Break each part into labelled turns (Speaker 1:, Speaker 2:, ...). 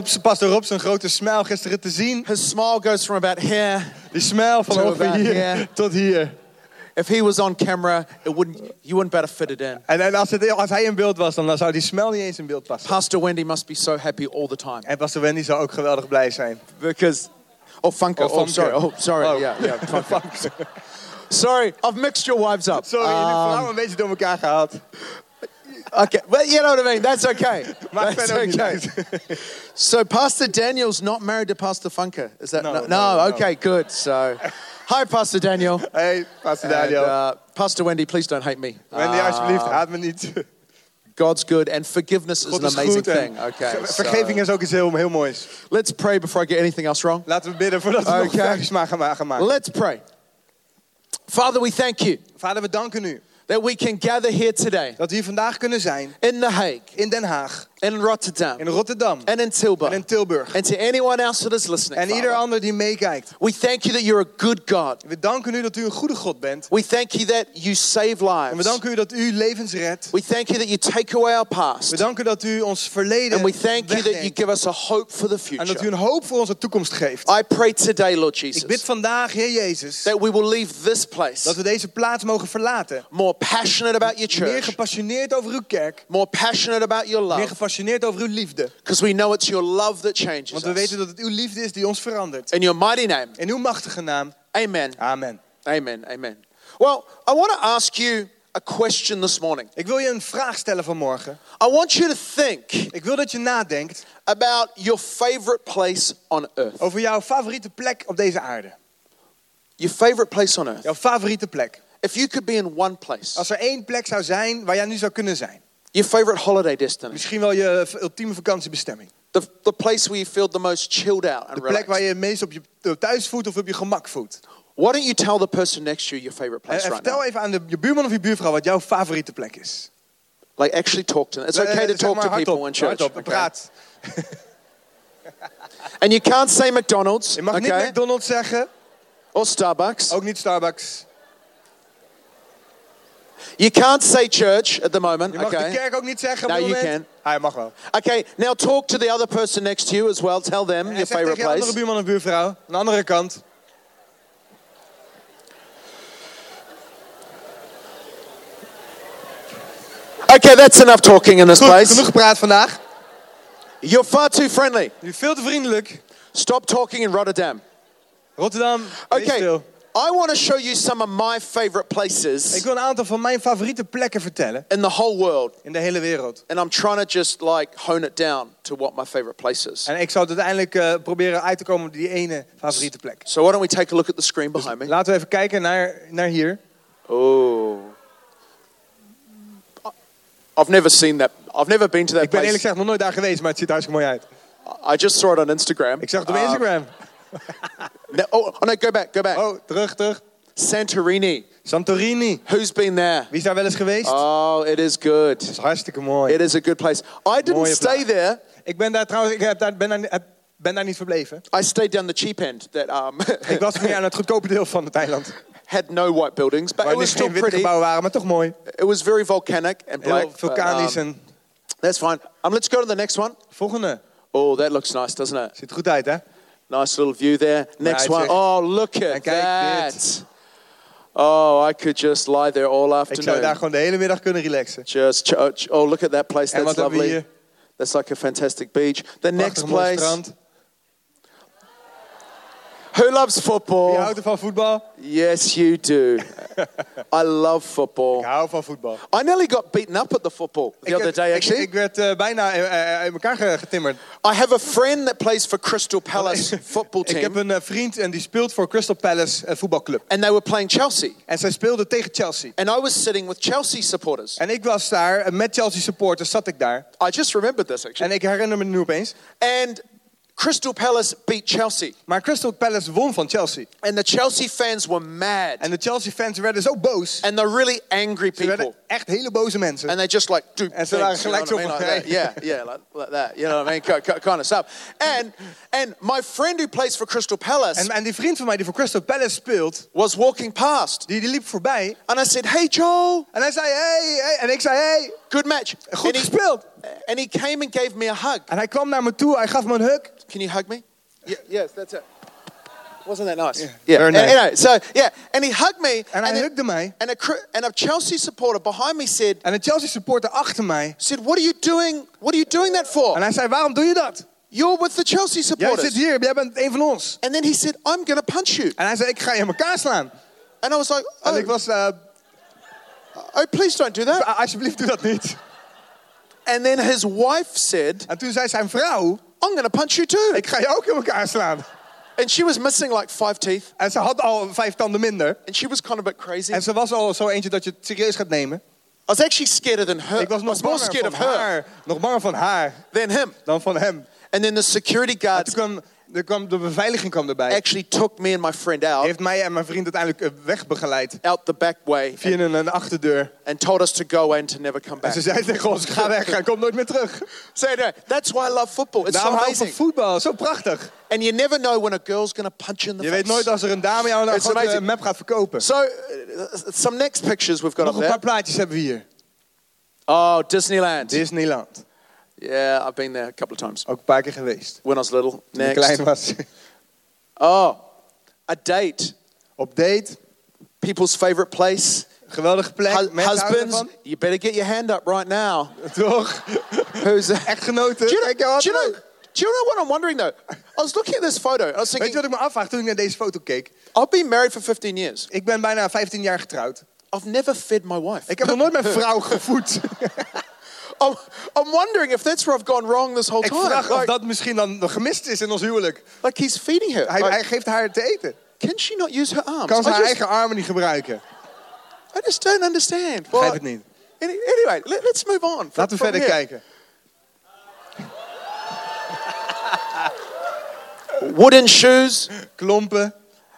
Speaker 1: Robson, Pastor Robson, grote smile gisteren te zien.
Speaker 2: His smile goes from about here.
Speaker 1: Die smile van
Speaker 2: Zo
Speaker 1: over
Speaker 2: daar,
Speaker 1: hier
Speaker 2: ja.
Speaker 1: tot hier.
Speaker 2: If he was on camera, it wouldn't. You wouldn't better fit it in.
Speaker 1: En, en als, het, als hij in beeld was, dan zou die smile niet eens in beeld passen.
Speaker 2: Pastor Wendy must be so happy all the time
Speaker 1: En Pastor Wendy zou ook geweldig blij zijn.
Speaker 2: because. Oh, Funko.
Speaker 1: Oh,
Speaker 2: Oh,
Speaker 1: Funko.
Speaker 2: sorry. Oh, sorry.
Speaker 1: Oh.
Speaker 2: Yeah, yeah. Funko. sorry, I've mixed your wives up.
Speaker 1: Sorry, jullie
Speaker 2: Um,
Speaker 1: vrouw een beetje door elkaar gehaald.
Speaker 2: Uh, Okay, well, you know what I mean. That's okay.
Speaker 1: Maakt
Speaker 2: That's
Speaker 1: verder ook niet
Speaker 2: okay. So, Pastor Daniel's not married to Pastor Funker. Is that
Speaker 1: No,
Speaker 2: no?
Speaker 1: no, no.
Speaker 2: Okay, good. So, hi, Pastor Daniel.
Speaker 1: Hey, Pastor Daniel.
Speaker 2: And, uh, Pastor Wendy, please don't hate me.
Speaker 1: Wendy,
Speaker 2: Uh,
Speaker 1: alsjeblieft, haat me niet.
Speaker 2: God's good, and forgiveness is
Speaker 1: God
Speaker 2: an
Speaker 1: is
Speaker 2: amazing
Speaker 1: goed. en
Speaker 2: thing. Okay.
Speaker 1: ver-
Speaker 2: so-
Speaker 1: vergeving is ook iets heel, heel moois.
Speaker 2: let's pray before I get anything else wrong.
Speaker 1: Laten we bidden voordat we nog
Speaker 2: Oké.
Speaker 1: vraagjes maar gaan ma- gaan maken.
Speaker 2: Let's pray. Father, we thank you
Speaker 1: Vader, we danken u
Speaker 2: that we can gather here today
Speaker 1: dat we hier vandaag kunnen zijn
Speaker 2: in The Hague,
Speaker 1: in Den Haag,
Speaker 2: in Rotterdam,
Speaker 1: in Rotterdam
Speaker 2: and in Tilburg,
Speaker 1: en in Tilburg.
Speaker 2: and to anyone else that is listening.
Speaker 1: En ieder
Speaker 2: Father.
Speaker 1: ander die meekijkt.
Speaker 2: We thank you that you're a good God.
Speaker 1: We danken u dat u een goede God bent.
Speaker 2: We thank you that you save
Speaker 1: En we
Speaker 2: lives.
Speaker 1: danken u dat u levens redt.
Speaker 2: We thank you that you take away our
Speaker 1: We
Speaker 2: past.
Speaker 1: danken dat u ons verleden
Speaker 2: And we thank you that you
Speaker 1: wegneemt.
Speaker 2: give us a hope for the
Speaker 1: En dat u
Speaker 2: future.
Speaker 1: een hoop voor onze toekomst geeft.
Speaker 2: I pray today, Lord
Speaker 1: Ik bid
Speaker 2: Oh, Jesus,
Speaker 1: vandaag, Heer Jezus,
Speaker 2: that we will leave this
Speaker 1: dat
Speaker 2: place
Speaker 1: we deze plaats mogen verlaten.
Speaker 2: more passionate about your
Speaker 1: Meer
Speaker 2: church,
Speaker 1: gepassioneerd over uw kerk.
Speaker 2: more passionate about your
Speaker 1: Meer
Speaker 2: love,
Speaker 1: gepassioneerd over uw liefde.
Speaker 2: because we know it's your love that changes
Speaker 1: Want we
Speaker 2: us.
Speaker 1: weten dat het uw liefde is die ons verandert.
Speaker 2: In your mighty name,
Speaker 1: In uw machtige naam.
Speaker 2: amen,
Speaker 1: Amen.
Speaker 2: amen, amen. Well, I want to ask you a question this morning.
Speaker 1: Ik wil je een vraag stellen vanmorgen.
Speaker 2: I want you to think
Speaker 1: Ik wil dat je nadenkt
Speaker 2: about your favorite place on earth.
Speaker 1: over jouw favoriete plek op deze aarde.
Speaker 2: Your favorite place on earth.
Speaker 1: Jouw favoriete plek.
Speaker 2: If you could be in one place,
Speaker 1: Als er één plek zou zijn waar jij nu zou kunnen zijn.
Speaker 2: your favorite holiday destination,
Speaker 1: Misschien wel je v- ultieme vakantiebestemming.
Speaker 2: the, the place where you feel the most chilled out and
Speaker 1: De plek
Speaker 2: relaxed,
Speaker 1: waar je het meest op je eh, thuis voelt of op je gemak voelt.
Speaker 2: why don't you tell the person next to you your favorite
Speaker 1: En,
Speaker 2: place
Speaker 1: en
Speaker 2: right
Speaker 1: vertel
Speaker 2: now?
Speaker 1: even aan de, je buurman of je buurvrouw wat jouw favoriete plek is.
Speaker 2: Like, actually talk to them. It's
Speaker 1: Eh,
Speaker 2: okay to
Speaker 1: zeg
Speaker 2: talk
Speaker 1: maar
Speaker 2: to people
Speaker 1: hardop,
Speaker 2: in church.
Speaker 1: hardop,
Speaker 2: okay?
Speaker 1: praat.
Speaker 2: And you can't say McDonald's,
Speaker 1: Je mag niet
Speaker 2: okay?
Speaker 1: McDonald's zeggen,
Speaker 2: Or Starbucks.
Speaker 1: ook niet Starbucks.
Speaker 2: You can't say church at the moment,
Speaker 1: Je mag de
Speaker 2: okay?
Speaker 1: kerk ook niet zeggen op
Speaker 2: Nou,
Speaker 1: dit
Speaker 2: you
Speaker 1: moment. Ah, je mag wel.
Speaker 2: Okay, now talk to the other person next to you as well. Tell them
Speaker 1: En
Speaker 2: your
Speaker 1: zeg
Speaker 2: favorite
Speaker 1: tegen je andere
Speaker 2: place.
Speaker 1: buurman en buurvrouw, aan de andere kant.
Speaker 2: Okay, that's enough talking in this
Speaker 1: Goed,
Speaker 2: place.
Speaker 1: genoeg gepraat vandaag.
Speaker 2: You're far too friendly.
Speaker 1: Jullie veel te vriendelijk.
Speaker 2: Stop talking in Rotterdam.
Speaker 1: Rotterdam, wees
Speaker 2: Okay,
Speaker 1: stil.
Speaker 2: I want to show you some of my favorite
Speaker 1: Ik
Speaker 2: places
Speaker 1: wil een aantal van mijn favoriete plekken vertellen
Speaker 2: in the whole world,
Speaker 1: in de hele wereld.
Speaker 2: and I'm trying to just like hone it down to what my favorite place is.
Speaker 1: En ik zou het uiteindelijk eh, proberen uit te komen op die ene favoriete plek.
Speaker 2: So why don't we take a look at the screen behind me?
Speaker 1: Laten we even kijken naar, naar hier.
Speaker 2: Oh, I've never seen that. I've never been to that
Speaker 1: Ik ben eerlijk
Speaker 2: place.
Speaker 1: gezegd nog nooit daar geweest, maar het ziet er hartstikke mooi uit.
Speaker 2: I just saw it on Instagram.
Speaker 1: Ik zag het op
Speaker 2: Uh,
Speaker 1: Instagram.
Speaker 2: no- oh, oh no, go back, go back.
Speaker 1: Oh, terug, terug.
Speaker 2: Santorini.
Speaker 1: Santorini.
Speaker 2: Who's been there?
Speaker 1: Wie is daar wel eens geweest? Dat
Speaker 2: Oh, it is good.
Speaker 1: is hartstikke mooi.
Speaker 2: It is a good place. I didn't
Speaker 1: Mooie
Speaker 2: stay
Speaker 1: plaats.
Speaker 2: there.
Speaker 1: Ik ben daar trouwens, ik heb daar, ben, daar, heb- ben daar niet verbleven.
Speaker 2: I stayed down the cheap end that um,
Speaker 1: Ik was meer aan het goedkope deel van het eiland.
Speaker 2: had no white buildings, but
Speaker 1: Waar
Speaker 2: it
Speaker 1: niet
Speaker 2: was still
Speaker 1: geen witte
Speaker 2: pretty.
Speaker 1: gebouwen waren, maar toch mooi.
Speaker 2: It was very volcanic and
Speaker 1: Heel
Speaker 2: black. but,
Speaker 1: vulkanisch.
Speaker 2: um,
Speaker 1: En...
Speaker 2: that's fine. Um, let's go to the next one.
Speaker 1: Volgende.
Speaker 2: Oh, that looks nice, doesn't it?
Speaker 1: Ziet er goed uit, hè?
Speaker 2: Nice little view there. Next
Speaker 1: Right,
Speaker 2: one.
Speaker 1: yeah.
Speaker 2: Oh, look at
Speaker 1: kijk dit.
Speaker 2: that. Oh, I could just lie there all
Speaker 1: Ik zou daar
Speaker 2: afternoon.
Speaker 1: gewoon de hele middag kunnen relaxen.
Speaker 2: Just ch- oh, ch- oh, look at that place.
Speaker 1: En
Speaker 2: That's
Speaker 1: wat hebben we
Speaker 2: lovely.
Speaker 1: hier?
Speaker 2: That's like a fantastic beach. The next
Speaker 1: Prachtig mooi
Speaker 2: place.
Speaker 1: strand.
Speaker 2: Who loves
Speaker 1: Je
Speaker 2: football?
Speaker 1: houdt er van voetbal?
Speaker 2: Yes, you do. I love football.
Speaker 1: Ik hou van voetbal.
Speaker 2: I nearly got beaten up at the football the
Speaker 1: Ik
Speaker 2: other
Speaker 1: heb-
Speaker 2: day,
Speaker 1: ik,
Speaker 2: actually.
Speaker 1: ik werd eh, bijna eh, eh, in elkaar ge- getimmerd.
Speaker 2: I have a friend that plays for Crystal Palace football
Speaker 1: Ik heb
Speaker 2: team,
Speaker 1: een eh, vriend en die speelt voor Crystal Palace eh, voetbalclub.
Speaker 2: and they were playing Chelsea.
Speaker 1: En zij speelde tegen Chelsea.
Speaker 2: And I was sitting with Chelsea supporters.
Speaker 1: En ik was daar, eh, met Chelsea supporters zat ik daar.
Speaker 2: I just remembered this, actually.
Speaker 1: En ik herinner me nu opeens.
Speaker 2: And Crystal Palace beat Chelsea,
Speaker 1: Maar Crystal Palace won van Chelsea.
Speaker 2: and the Chelsea fans were
Speaker 1: En
Speaker 2: mad.
Speaker 1: de Chelsea fans werden zo boos.
Speaker 2: And they're really angry
Speaker 1: Ze werden
Speaker 2: people.
Speaker 1: echt hele boze mensen.
Speaker 2: And they just like do
Speaker 1: En
Speaker 2: things,
Speaker 1: ze
Speaker 2: you know
Speaker 1: waren gelijk
Speaker 2: what I
Speaker 1: zo van,
Speaker 2: mean? Like that.
Speaker 1: "Hey."
Speaker 2: yeah, yeah, like, like that. You know what I mean? Ki- ki- Kind of stuff. And and my friend who plays for Crystal Palace
Speaker 1: En, en die vriend van mij die voor Crystal Palace speelt,
Speaker 2: was walking past,
Speaker 1: die, die liep voorbij.
Speaker 2: and I said, "Hey, Joel,
Speaker 1: En hij zei, hey, hey. En ik zei, hey.
Speaker 2: Good match.
Speaker 1: Goed
Speaker 2: and, he,
Speaker 1: gespeeld.
Speaker 2: and he came and gave me a hug.
Speaker 1: En hij kwam naar me toe, hij gaf me een huk.
Speaker 2: Can you hug me? Yeah, yes, that's it. Wasn't that nice? Yeah,
Speaker 1: very
Speaker 2: and-
Speaker 1: nice.
Speaker 2: anyway, so yeah, and he hugged me,
Speaker 1: En hij
Speaker 2: it-
Speaker 1: hukte mij.
Speaker 2: and a cr- and a Chelsea supporter behind me said,
Speaker 1: En een Chelsea supporter achter mij.
Speaker 2: said, "What are you doing? What are you doing that
Speaker 1: En
Speaker 2: for?
Speaker 1: hij zei, waarom doe je dat?
Speaker 2: You're with the Chelsea
Speaker 1: Jij zit
Speaker 2: supporters."
Speaker 1: hier, jij bent een van ons.
Speaker 2: And then he said, "I'm gonna punch you,"
Speaker 1: En hij zei, ik ga je in elkaar slaan.
Speaker 2: and I was like,
Speaker 1: En
Speaker 2: "Oh,
Speaker 1: ik was, eh,
Speaker 2: oh please don't do that."
Speaker 1: "A- alsjeblieft doe dat niet.
Speaker 2: And then his wife said,
Speaker 1: En toen zei zijn vrouw,
Speaker 2: "I'm gonna punch you too,"
Speaker 1: ik ga je ook in elkaar slaan.
Speaker 2: and she was missing like five teeth,
Speaker 1: En ze had al vijf tanden minder.
Speaker 2: and she was kind of a bit crazy.
Speaker 1: En ze was al zo eentje dat je het serieus gaat nemen.
Speaker 2: I was actually scared than her.
Speaker 1: Ik was
Speaker 2: I
Speaker 1: nog
Speaker 2: was more
Speaker 1: banger
Speaker 2: scared
Speaker 1: van
Speaker 2: of her
Speaker 1: haar, nog banger van haar
Speaker 2: than him.
Speaker 1: dan van hem.
Speaker 2: And then the security
Speaker 1: En toen
Speaker 2: guards
Speaker 1: kwam, er kwam de beveiliging kwam erbij. Hij
Speaker 2: actually took me and my friend out
Speaker 1: heeft mij en mijn vriend uiteindelijk eh, wegbegeleid.
Speaker 2: out the back way and,
Speaker 1: Via een, een achterdeur.
Speaker 2: and told us to go away and to never come
Speaker 1: En
Speaker 2: back.
Speaker 1: ze zei tegen ons, ga weg, en kom nooit meer terug.
Speaker 2: So anyway, that's why I love football. It's so
Speaker 1: Daarom hou ik van
Speaker 2: amazing.
Speaker 1: voetbal, zo prachtig.
Speaker 2: And you never know when a girl's going to punch you in the
Speaker 1: Je
Speaker 2: face.
Speaker 1: weet nooit als er een dame jou nou
Speaker 2: It's
Speaker 1: gewoon
Speaker 2: amazing.
Speaker 1: een map gaat verkopen.
Speaker 2: So uh, some next pictures we've got
Speaker 1: Nog
Speaker 2: up
Speaker 1: een paar
Speaker 2: there.
Speaker 1: plaatjes hebben we hier.
Speaker 2: Oh, Disneyland.
Speaker 1: Disneyland.
Speaker 2: yeah, I've been there a couple of times
Speaker 1: Ook een paar keer geweest.
Speaker 2: when I was little.
Speaker 1: Toen ik klein was.
Speaker 2: Next. Oh, a date.
Speaker 1: Op date.
Speaker 2: People's favorite place.
Speaker 1: Geweldige plek.
Speaker 2: Hu-
Speaker 1: Mensen houden
Speaker 2: husbands,
Speaker 1: ervan.
Speaker 2: you better get your hand up right now.
Speaker 1: Toch?
Speaker 2: Who's
Speaker 1: Echtgenoten.
Speaker 2: Do you, know,
Speaker 1: Kijk jou
Speaker 2: do, you know,
Speaker 1: aan.
Speaker 2: do you know what I'm wondering though? I was looking at this photo and I was
Speaker 1: Weet je
Speaker 2: thinking,
Speaker 1: wat ik me afvraag toen ik naar deze foto keek?
Speaker 2: I've been married for 15 years.
Speaker 1: Ik ben bijna 15 jaar getrouwd.
Speaker 2: I've never fed my wife.
Speaker 1: Ik heb nog nooit mijn vrouw gevoed.
Speaker 2: I'm, I'm wondering if that's where I've gone wrong this whole
Speaker 1: Ik
Speaker 2: time.
Speaker 1: vraag of
Speaker 2: Like,
Speaker 1: dat misschien dan gemist is in ons huwelijk.
Speaker 2: like he's feeding her.
Speaker 1: Hij,
Speaker 2: Like,
Speaker 1: hij geeft haar te eten.
Speaker 2: can she not use her arms?
Speaker 1: Kan ze
Speaker 2: I,
Speaker 1: haar
Speaker 2: just,
Speaker 1: eigen armen niet gebruiken.
Speaker 2: I just don't understand.
Speaker 1: Begrijp het niet.
Speaker 2: any- anyway, let, us move on. from-
Speaker 1: Laten we
Speaker 2: from
Speaker 1: verder
Speaker 2: here.
Speaker 1: kijken.
Speaker 2: Wooden shoes.
Speaker 1: Klompen.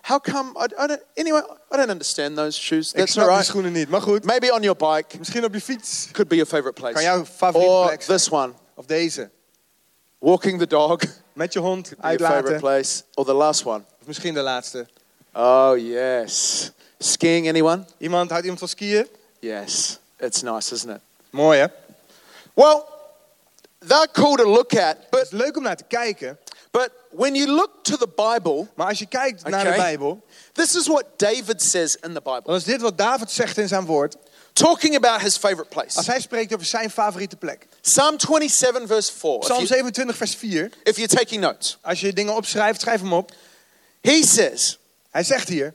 Speaker 2: How come? I, I don't, anyway, I don't understand those shoes.
Speaker 1: Ik
Speaker 2: That's
Speaker 1: snap
Speaker 2: all
Speaker 1: die
Speaker 2: right.
Speaker 1: schoenen niet. Maar goed,
Speaker 2: Maybe on your bike
Speaker 1: misschien op je fiets.
Speaker 2: could be your favorite place.
Speaker 1: Kan jouw favoriete
Speaker 2: or
Speaker 1: plek zijn.
Speaker 2: this one,
Speaker 1: Of deze.
Speaker 2: walking the dog.
Speaker 1: Met je hond
Speaker 2: Your favorite
Speaker 1: uitlaten.
Speaker 2: place, or the last one?
Speaker 1: Of misschien de laatste.
Speaker 2: Oh yes, skiing. Anyone?
Speaker 1: Iemand houdt iemand van skiën?
Speaker 2: Yes, it's nice, isn't it?
Speaker 1: Mooi hè?
Speaker 2: Well, they're cool to look at,
Speaker 1: Het
Speaker 2: but
Speaker 1: is leuk om naar te kijken.
Speaker 2: but when you look to the Bible,
Speaker 1: Maar als je kijkt naar de
Speaker 2: Okay.
Speaker 1: Bijbel,
Speaker 2: this is what David says in the Bible,
Speaker 1: dan is dit wat David zegt in zijn woord.
Speaker 2: talking about his favorite
Speaker 1: Als
Speaker 2: place.
Speaker 1: hij spreekt over zijn favoriete plek.
Speaker 2: Psalm 27, verse 4.
Speaker 1: Psalm
Speaker 2: If, you,
Speaker 1: 27, vers 4.
Speaker 2: if you're taking notes,
Speaker 1: Als je dingen opschrijft, schrijf hem op.
Speaker 2: he says,
Speaker 1: Hij zegt hier: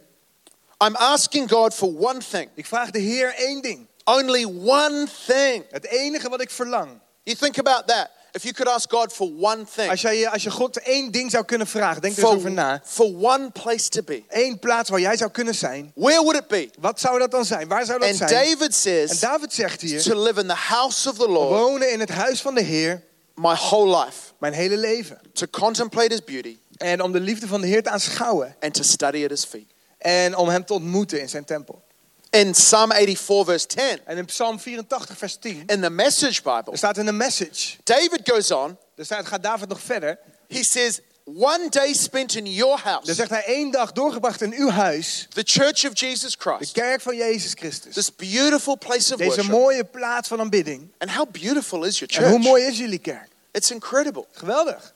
Speaker 2: "I'm asking God for one thing,
Speaker 1: Ik vraag de Heer één ding.
Speaker 2: only one thing."
Speaker 1: Het enige wat ik verlang.
Speaker 2: You think about that. If you could ask God for one thing,
Speaker 1: Als, jij, als je God één ding zou kunnen vragen, denk er eens
Speaker 2: for,
Speaker 1: over na.
Speaker 2: for one place to be,
Speaker 1: Eén plaats waar jij zou kunnen zijn.
Speaker 2: where would it be?
Speaker 1: Wat zou dat dan zijn? Waar zou dat
Speaker 2: And
Speaker 1: zijn?
Speaker 2: David
Speaker 1: en
Speaker 2: says
Speaker 1: David zegt hier:
Speaker 2: to live in the house of the Lord
Speaker 1: wonen in het huis van de Heer
Speaker 2: my whole life,
Speaker 1: mijn hele leven.
Speaker 2: to contemplate his beauty
Speaker 1: En om de liefde van de Heer te aanschouwen.
Speaker 2: and to study at his feet.
Speaker 1: En om hem te ontmoeten in zijn tempel.
Speaker 2: In Psalm 84, verse 10,
Speaker 1: En in Psalm 84, vers 10,
Speaker 2: in the Message Bible,
Speaker 1: er staat in de message.
Speaker 2: David goes on,
Speaker 1: Er staat, gaat David nog verder.
Speaker 2: he says, One day spent in your
Speaker 1: Dan
Speaker 2: house,
Speaker 1: zegt hij, één dag doorgebracht in uw huis,
Speaker 2: the church of Jesus
Speaker 1: de
Speaker 2: Christ,
Speaker 1: kerk van Jezus Christus.
Speaker 2: this beautiful place of
Speaker 1: Deze
Speaker 2: worship.
Speaker 1: mooie plaats van aanbidding.
Speaker 2: And how beautiful is your
Speaker 1: En hoe
Speaker 2: church?
Speaker 1: mooi is jullie kerk?
Speaker 2: It's incredible.
Speaker 1: Geweldig.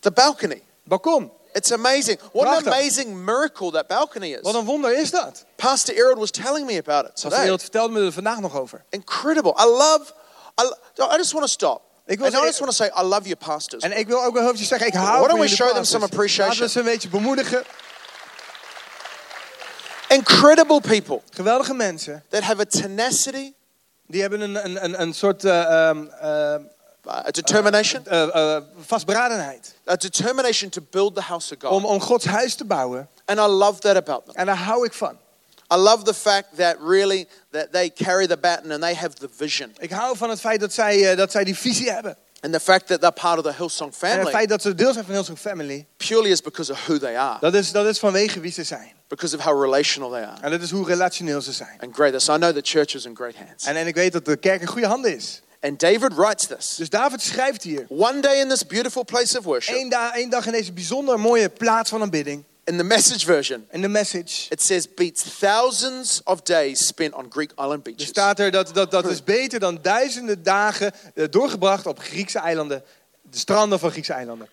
Speaker 2: The balcony,
Speaker 1: Balkon,
Speaker 2: it's amazing. What an
Speaker 1: Prachtig.
Speaker 2: amazing miracle that balcony is.
Speaker 1: wat een wonder is dat?
Speaker 2: Pastor Errol was telling me about it
Speaker 1: Zoals
Speaker 2: today.
Speaker 1: Wereld vertelde me er vandaag nog over.
Speaker 2: Incredible. I love. I, lo- I just want to stop.
Speaker 1: Ik wil
Speaker 2: and I
Speaker 1: zeggen-
Speaker 2: just want to say, I love your pastors.
Speaker 1: En ik wil ook wel heel even zeggen, ik
Speaker 2: Why
Speaker 1: hou
Speaker 2: don't
Speaker 1: van
Speaker 2: we
Speaker 1: jullie
Speaker 2: show them
Speaker 1: pastors.
Speaker 2: some appreciation?
Speaker 1: Laten we ze een beetje bemoedigen.
Speaker 2: Incredible people
Speaker 1: Geweldige mensen.
Speaker 2: that have a tenacity,
Speaker 1: Die hebben een, een, een, een soort eh, ehm, ehm,
Speaker 2: uh, a determination,
Speaker 1: eh, eh, vastberadenheid.
Speaker 2: a determination to build the house of God.
Speaker 1: Om, om Gods huis te bouwen.
Speaker 2: and I love that about them.
Speaker 1: En daar hou ik van.
Speaker 2: I love the fact that really that they carry the baton and they have the vision,
Speaker 1: Ik hou van het feit dat zij, eh, dat zij die visie hebben.
Speaker 2: and the fact that they're part of the Hillsong
Speaker 1: En het
Speaker 2: family
Speaker 1: feit dat ze deel zijn van Hillsong Family.
Speaker 2: purely is because of who they are,
Speaker 1: Dat is, dat is vanwege wie ze zijn.
Speaker 2: because of how relational they are,
Speaker 1: En dat is hoe relationeel ze zijn.
Speaker 2: and great. So I know the church is in great hands.
Speaker 1: En, en ik weet dat de kerk in goede handen is.
Speaker 2: And David writes this:
Speaker 1: Dus David schrijft hier.
Speaker 2: One day in this beautiful place of worship.
Speaker 1: Eén, da- één dag in deze bijzonder mooie plaats van aanbidding.
Speaker 2: In the message version,
Speaker 1: In de message
Speaker 2: it says beats thousands of days spent on Greek island
Speaker 1: er
Speaker 2: beaches.
Speaker 1: staat er dat, dat dat is beter dan duizenden dagen eh, doorgebracht op Griekse eilanden. De stranden van Griekse eilanden.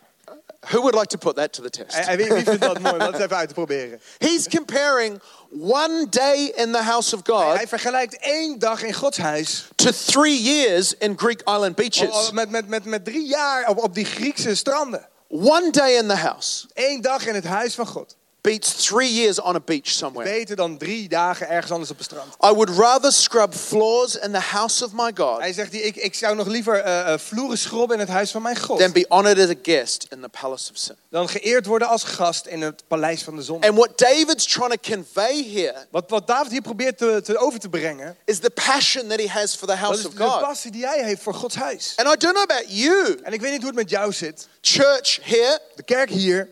Speaker 2: Who would like to put that to the test?
Speaker 1: En, en wie, wie vindt dat mooi? om Dat eens even uit te proberen.
Speaker 2: He's comparing one day in the house of God
Speaker 1: Hij vergelijkt één dag in Gods huis
Speaker 2: to three years in Greek island
Speaker 1: o- o-
Speaker 2: beaches.
Speaker 1: met, met, met, met drie jaar op, op die Griekse stranden.
Speaker 2: One day in the house
Speaker 1: Eén dag in het huis van God.
Speaker 2: beats three years on a beach somewhere.
Speaker 1: Beter dan drie dagen ergens anders op het strand.
Speaker 2: I would rather scrub floors in the house of my God
Speaker 1: Hij zegt, ik, ik zou nog liever eh, eh, vloeren schrobben in het huis van mijn God.
Speaker 2: than be honored as a guest in the palace of sin.
Speaker 1: Dan geëerd worden als gast in het paleis van de zon.
Speaker 2: And what David's trying to convey here
Speaker 1: Wat, wat David hier probeert te, te over te brengen,
Speaker 2: is the passion that he has for the
Speaker 1: dat is
Speaker 2: house
Speaker 1: de
Speaker 2: of God.
Speaker 1: passie die hij heeft voor Gods huis.
Speaker 2: And I don't know about you,
Speaker 1: En ik weet niet hoe het met jou zit.
Speaker 2: church here
Speaker 1: De kerk hier,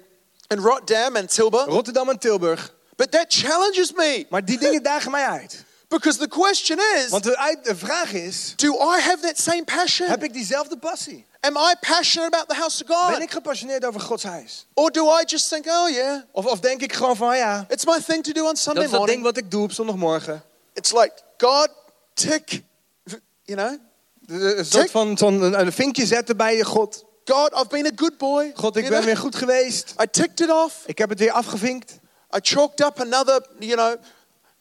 Speaker 2: in Rotterdam and Tilburg,
Speaker 1: Rotterdam en Tilburg.
Speaker 2: but that challenges me
Speaker 1: Maar die dingen dagen mij uit.
Speaker 2: because the question is
Speaker 1: Want de, uit, de vraag is,
Speaker 2: do I have that same passion?
Speaker 1: heb ik diezelfde passie?
Speaker 2: Am I passionate about the house of
Speaker 1: Ben
Speaker 2: God?
Speaker 1: ik gepassioneerd over Gods huis?
Speaker 2: Or do I just think, oh yeah,
Speaker 1: Of, of denk ik gewoon van, ja,
Speaker 2: it's my thing to do on
Speaker 1: dat
Speaker 2: Sunday
Speaker 1: is dat ding
Speaker 2: morning?
Speaker 1: wat ik doe op zondagmorgen.
Speaker 2: It's like, God, tick, you know,
Speaker 1: Een soort eh, van zo'n- eh, een, een vinkje zetten bij je God.
Speaker 2: God, I've been a good boy.
Speaker 1: God, ik
Speaker 2: you
Speaker 1: ben
Speaker 2: know?
Speaker 1: weer goed geweest.
Speaker 2: I ticked it off.
Speaker 1: Ik heb het weer afgevinkt.
Speaker 2: I chalked up another, you know,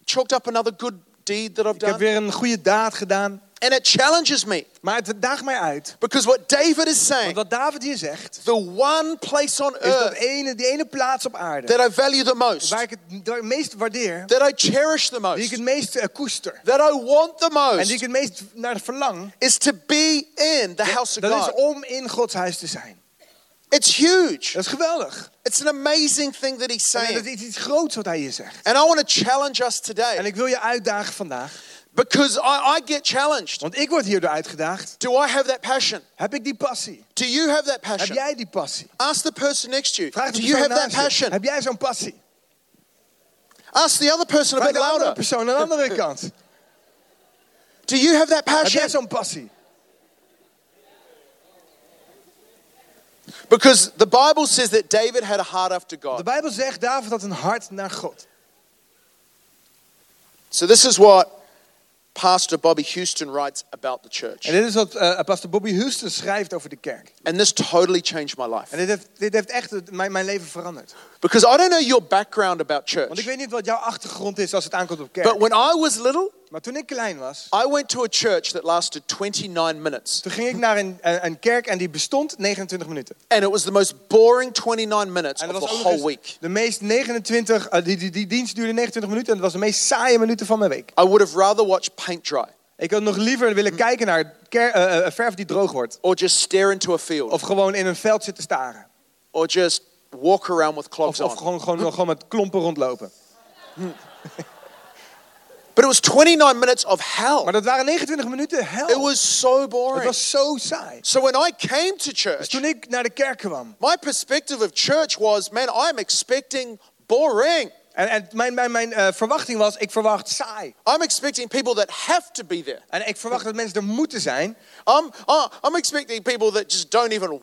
Speaker 2: chalked up another good deed that I've
Speaker 1: Ik heb
Speaker 2: done.
Speaker 1: weer een goede daad gedaan.
Speaker 2: And it challenges me
Speaker 1: Maar het daagt mij uit.
Speaker 2: because what David
Speaker 1: Want
Speaker 2: is saying,
Speaker 1: wat David hier zegt,
Speaker 2: the one place on
Speaker 1: is dat
Speaker 2: earth
Speaker 1: ene, die ene plaats op aarde...
Speaker 2: that I value the most,
Speaker 1: waar ik het waar ik het meest waardeer,
Speaker 2: that I cherish the
Speaker 1: die ik
Speaker 2: most,
Speaker 1: het meest eh, koester...
Speaker 2: that I want the
Speaker 1: en die ik
Speaker 2: most,
Speaker 1: het meest naar verlang...
Speaker 2: is to be in the house of
Speaker 1: dat
Speaker 2: God.
Speaker 1: is om in Gods huis te zijn.
Speaker 2: It's huge.
Speaker 1: Dat is geweldig.
Speaker 2: It's an amazing thing that he's
Speaker 1: En dat
Speaker 2: saying.
Speaker 1: is iets groots wat hij hier zegt.
Speaker 2: And I want to challenge us
Speaker 1: En
Speaker 2: today
Speaker 1: ik wil je uitdagen vandaag.
Speaker 2: because I, I get challenged.
Speaker 1: Want ik word hierdoor uitgedaagd.
Speaker 2: Do I have that passion?
Speaker 1: Heb ik die passie?
Speaker 2: Do you have that
Speaker 1: Heb
Speaker 2: passion?
Speaker 1: jij die passie?
Speaker 2: Ask the person next to you.
Speaker 1: Vraag de
Speaker 2: Do you
Speaker 1: persoon
Speaker 2: have that
Speaker 1: naast je,
Speaker 2: passion?
Speaker 1: Heb jij zo'n passie?
Speaker 2: Ask the other person a
Speaker 1: Vraag
Speaker 2: bit
Speaker 1: de andere
Speaker 2: louder.
Speaker 1: persoon aan de andere kant.
Speaker 2: Do you have that
Speaker 1: Heb jij
Speaker 2: passion?
Speaker 1: zo'n passie?
Speaker 2: Because the Bible says that David had a heart after
Speaker 1: De
Speaker 2: God.
Speaker 1: Bijbel zegt, David had een hart naar God.
Speaker 2: So this is what Pastor Bobby Houston writes about the church.
Speaker 1: En dit is wat eh, pastor Bobby Houston schrijft over de kerk.
Speaker 2: And this totally changed my life.
Speaker 1: En dit heeft, dit heeft echt het- mijn, mijn leven veranderd.
Speaker 2: Because I don't know your background about
Speaker 1: Want ik
Speaker 2: church.
Speaker 1: weet niet wat jouw achtergrond is als het aankomt op
Speaker 2: But
Speaker 1: kerk.
Speaker 2: when I was little,
Speaker 1: Maar toen ik klein was,
Speaker 2: I went to a church that lasted 29 minutes.
Speaker 1: toen ging ik naar een, eh, een, een kerk en die bestond 29 minuten.
Speaker 2: And it was the most boring 29 minutes
Speaker 1: En
Speaker 2: of
Speaker 1: dat
Speaker 2: the
Speaker 1: was ook nog
Speaker 2: whole
Speaker 1: eens
Speaker 2: week.
Speaker 1: de meest 29, eh, die, die, die dienst duurde 29 minuten en het was de meest saaie minuten van mijn week.
Speaker 2: I would have rather watched paint dry
Speaker 1: Ik had nog liever willen kijken naar ker- eh, eh, verf die droog wordt.
Speaker 2: or just stare into a field
Speaker 1: Of gewoon in een veld zitten staren.
Speaker 2: or just walk around with
Speaker 1: Of,
Speaker 2: clogs
Speaker 1: of
Speaker 2: on.
Speaker 1: gewoon, gewoon, gewoon met klompen rondlopen.
Speaker 2: But it was 29 minutes of hell.
Speaker 1: Maar dat waren 29 minuten hel.
Speaker 2: It was so
Speaker 1: Het
Speaker 2: boring.
Speaker 1: was zo saai.
Speaker 2: So when I came to
Speaker 1: Dus
Speaker 2: church,
Speaker 1: toen ik naar de kerk kwam.
Speaker 2: my perspective of church was, man, I'm expecting boring.
Speaker 1: En, en mijn, mijn, mijn eh, verwachting was, ik verwacht saai.
Speaker 2: I'm expecting people that have to be there.
Speaker 1: En ik verwacht dat mensen er moeten zijn.
Speaker 2: I'm, uh, I'm expecting people that just don't even.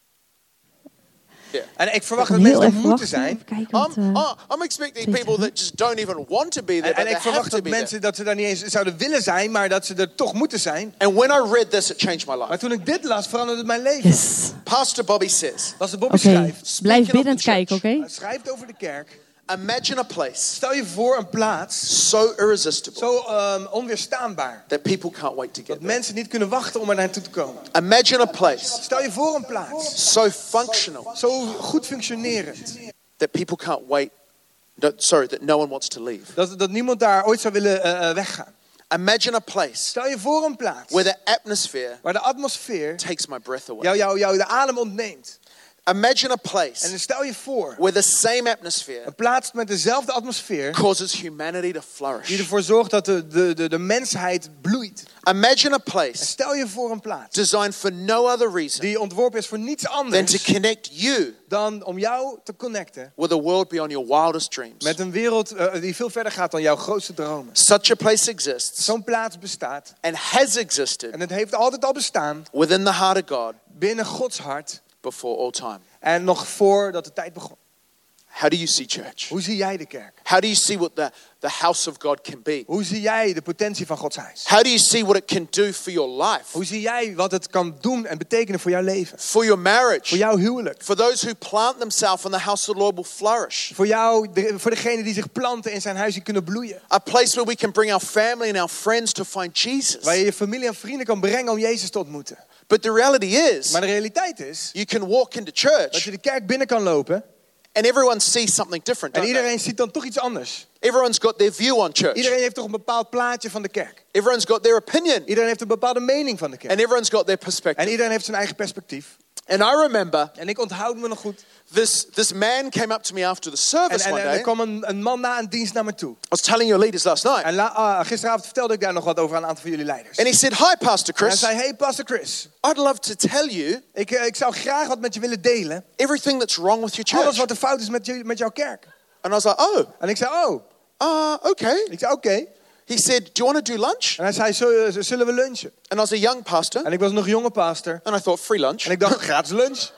Speaker 1: En ik verwacht dat
Speaker 3: Heel
Speaker 1: mensen er
Speaker 3: even
Speaker 1: moeten
Speaker 3: wachten,
Speaker 1: zijn.
Speaker 3: even kijken
Speaker 2: I'm,
Speaker 3: wat... eh,
Speaker 2: uh, I'm expecting people that just don't even want to be there.
Speaker 1: En,
Speaker 2: But
Speaker 1: en
Speaker 2: they
Speaker 1: ik
Speaker 2: have
Speaker 1: verwacht
Speaker 2: to
Speaker 1: dat
Speaker 2: be there.
Speaker 1: mensen dat ze daar niet eens zouden willen zijn, maar dat ze er toch moeten zijn.
Speaker 2: And when I read this, it changed my
Speaker 1: Maar
Speaker 2: life.
Speaker 1: toen ik dit las, veranderde het mijn leven.
Speaker 3: Yes.
Speaker 2: Pastor Bobby says,
Speaker 1: Als de Bobby
Speaker 3: Oké,
Speaker 1: schrijft,
Speaker 3: blijf
Speaker 2: of the
Speaker 3: binnen kijken, oké?
Speaker 1: hij schrijft over de kerk.
Speaker 2: Imagine a place
Speaker 1: Stel je voor een plaats
Speaker 2: so irresistible
Speaker 1: zo ehm, onweerstaanbaar.
Speaker 2: that people can't wait to
Speaker 1: Dat
Speaker 2: get there.
Speaker 1: mensen niet kunnen wachten om er naartoe te komen.
Speaker 2: Imagine a place
Speaker 1: Stel je voor een plaats
Speaker 2: so functional
Speaker 1: zo goed functionerend.
Speaker 2: that people can't wait. No, sorry, that no one wants to leave.
Speaker 1: Dat, dat niemand daar ooit zou willen eh, eh, weggaan.
Speaker 2: Imagine a place
Speaker 1: Stel je voor een plaats
Speaker 2: where the atmosphere
Speaker 1: waar de atmosfeer
Speaker 2: takes my breath away.
Speaker 1: jou, jou, jou de adem ontneemt.
Speaker 2: Imagine a
Speaker 1: En dan
Speaker 2: place
Speaker 1: stel je voor
Speaker 2: where the same atmosphere
Speaker 1: een plaats met dezelfde atmosfeer
Speaker 2: causes humanity to
Speaker 1: die
Speaker 2: flourish.
Speaker 1: ervoor zorgt dat de, de, de, de mensheid bloeit.
Speaker 2: Imagine a
Speaker 1: En
Speaker 2: place
Speaker 1: stel je voor een plaats
Speaker 2: designed for no other reason
Speaker 1: die ontworpen is voor niets
Speaker 2: than to
Speaker 1: anders
Speaker 2: connect you
Speaker 1: dan om jou te connecten
Speaker 2: with a world beyond your wildest dreams.
Speaker 1: met een wereld eh, die veel verder gaat dan jouw grootste dromen.
Speaker 2: Such a place exists
Speaker 1: Zo'n plaats bestaat
Speaker 2: and has
Speaker 1: en
Speaker 2: existed
Speaker 1: het heeft altijd al bestaan
Speaker 2: within the heart of God
Speaker 1: binnen Gods hart
Speaker 2: before all time.
Speaker 1: en nog voordat de tijd begon.
Speaker 2: How do you see church?
Speaker 1: Hoe zie jij de kerk?
Speaker 2: How do you see what the, the house of God can be?
Speaker 1: Hoe zie jij de potentie van Gods huis?
Speaker 2: How do you see what it can do for your life,
Speaker 1: Hoe zie jij wat het kan doen en betekenen voor jouw leven?
Speaker 2: for your marriage?
Speaker 1: Voor jouw huwelijk?
Speaker 2: For those who plant themselves in the house of the Lord will flourish.
Speaker 1: Voor jou, de- voor degene die zich planten en zijn huis die kunnen bloeien.
Speaker 2: A place where we can bring our family and our friends to find Jesus.
Speaker 1: Waar je je familie en vrienden kan brengen om Jezus te ontmoeten.
Speaker 2: But the reality is,
Speaker 1: Maar de realiteit is
Speaker 2: you can walk into
Speaker 1: dat je
Speaker 2: church
Speaker 1: de kerk binnen kan lopen
Speaker 2: and everyone sees something different.
Speaker 1: en
Speaker 2: Don't they?
Speaker 1: iedereen ziet dan toch iets anders.
Speaker 2: Everyone's got their view on church.
Speaker 1: Iedereen heeft toch een bepaald plaatje van de kerk.
Speaker 2: Everyone's got their opinion.
Speaker 1: Iedereen heeft een bepaalde mening van de kerk.
Speaker 2: And everyone's got their
Speaker 1: En
Speaker 2: perspective.
Speaker 1: iedereen heeft zijn eigen perspectief.
Speaker 2: And I remember
Speaker 1: En ik onthoud me nog goed.
Speaker 2: this, this man came up to me after the
Speaker 1: En,
Speaker 2: service
Speaker 1: en-
Speaker 2: one
Speaker 1: en
Speaker 2: day.
Speaker 1: er kwam een, een man na een dienst naar me toe.
Speaker 2: I was telling your leaders last night.
Speaker 1: En la- ah, gisteravond vertelde ik daar nog wat over aan een aantal van jullie leiders. En
Speaker 2: And he said, Hi, Pastor
Speaker 1: hij
Speaker 2: Chris.
Speaker 1: zei, hey pastor Chris,
Speaker 2: I'd love to tell you
Speaker 1: ik, eh, ik zou graag wat met je willen delen.
Speaker 2: everything that's wrong with your
Speaker 1: Alles
Speaker 2: church.
Speaker 1: wat er fout is met, jullie- met jouw kerk.
Speaker 2: And I was like, Oh,
Speaker 1: En ik zei, oh.
Speaker 2: uh, okay.
Speaker 1: Ik zei, oké.
Speaker 2: He said, Do you want to do lunch?
Speaker 1: En hij zei, "Zullen- zullen we lunchen?
Speaker 2: And I was a young pastor.
Speaker 1: En ik was nog jonge pastor.
Speaker 2: And I thought, Free lunch.
Speaker 1: En ik dacht, gratis lunch.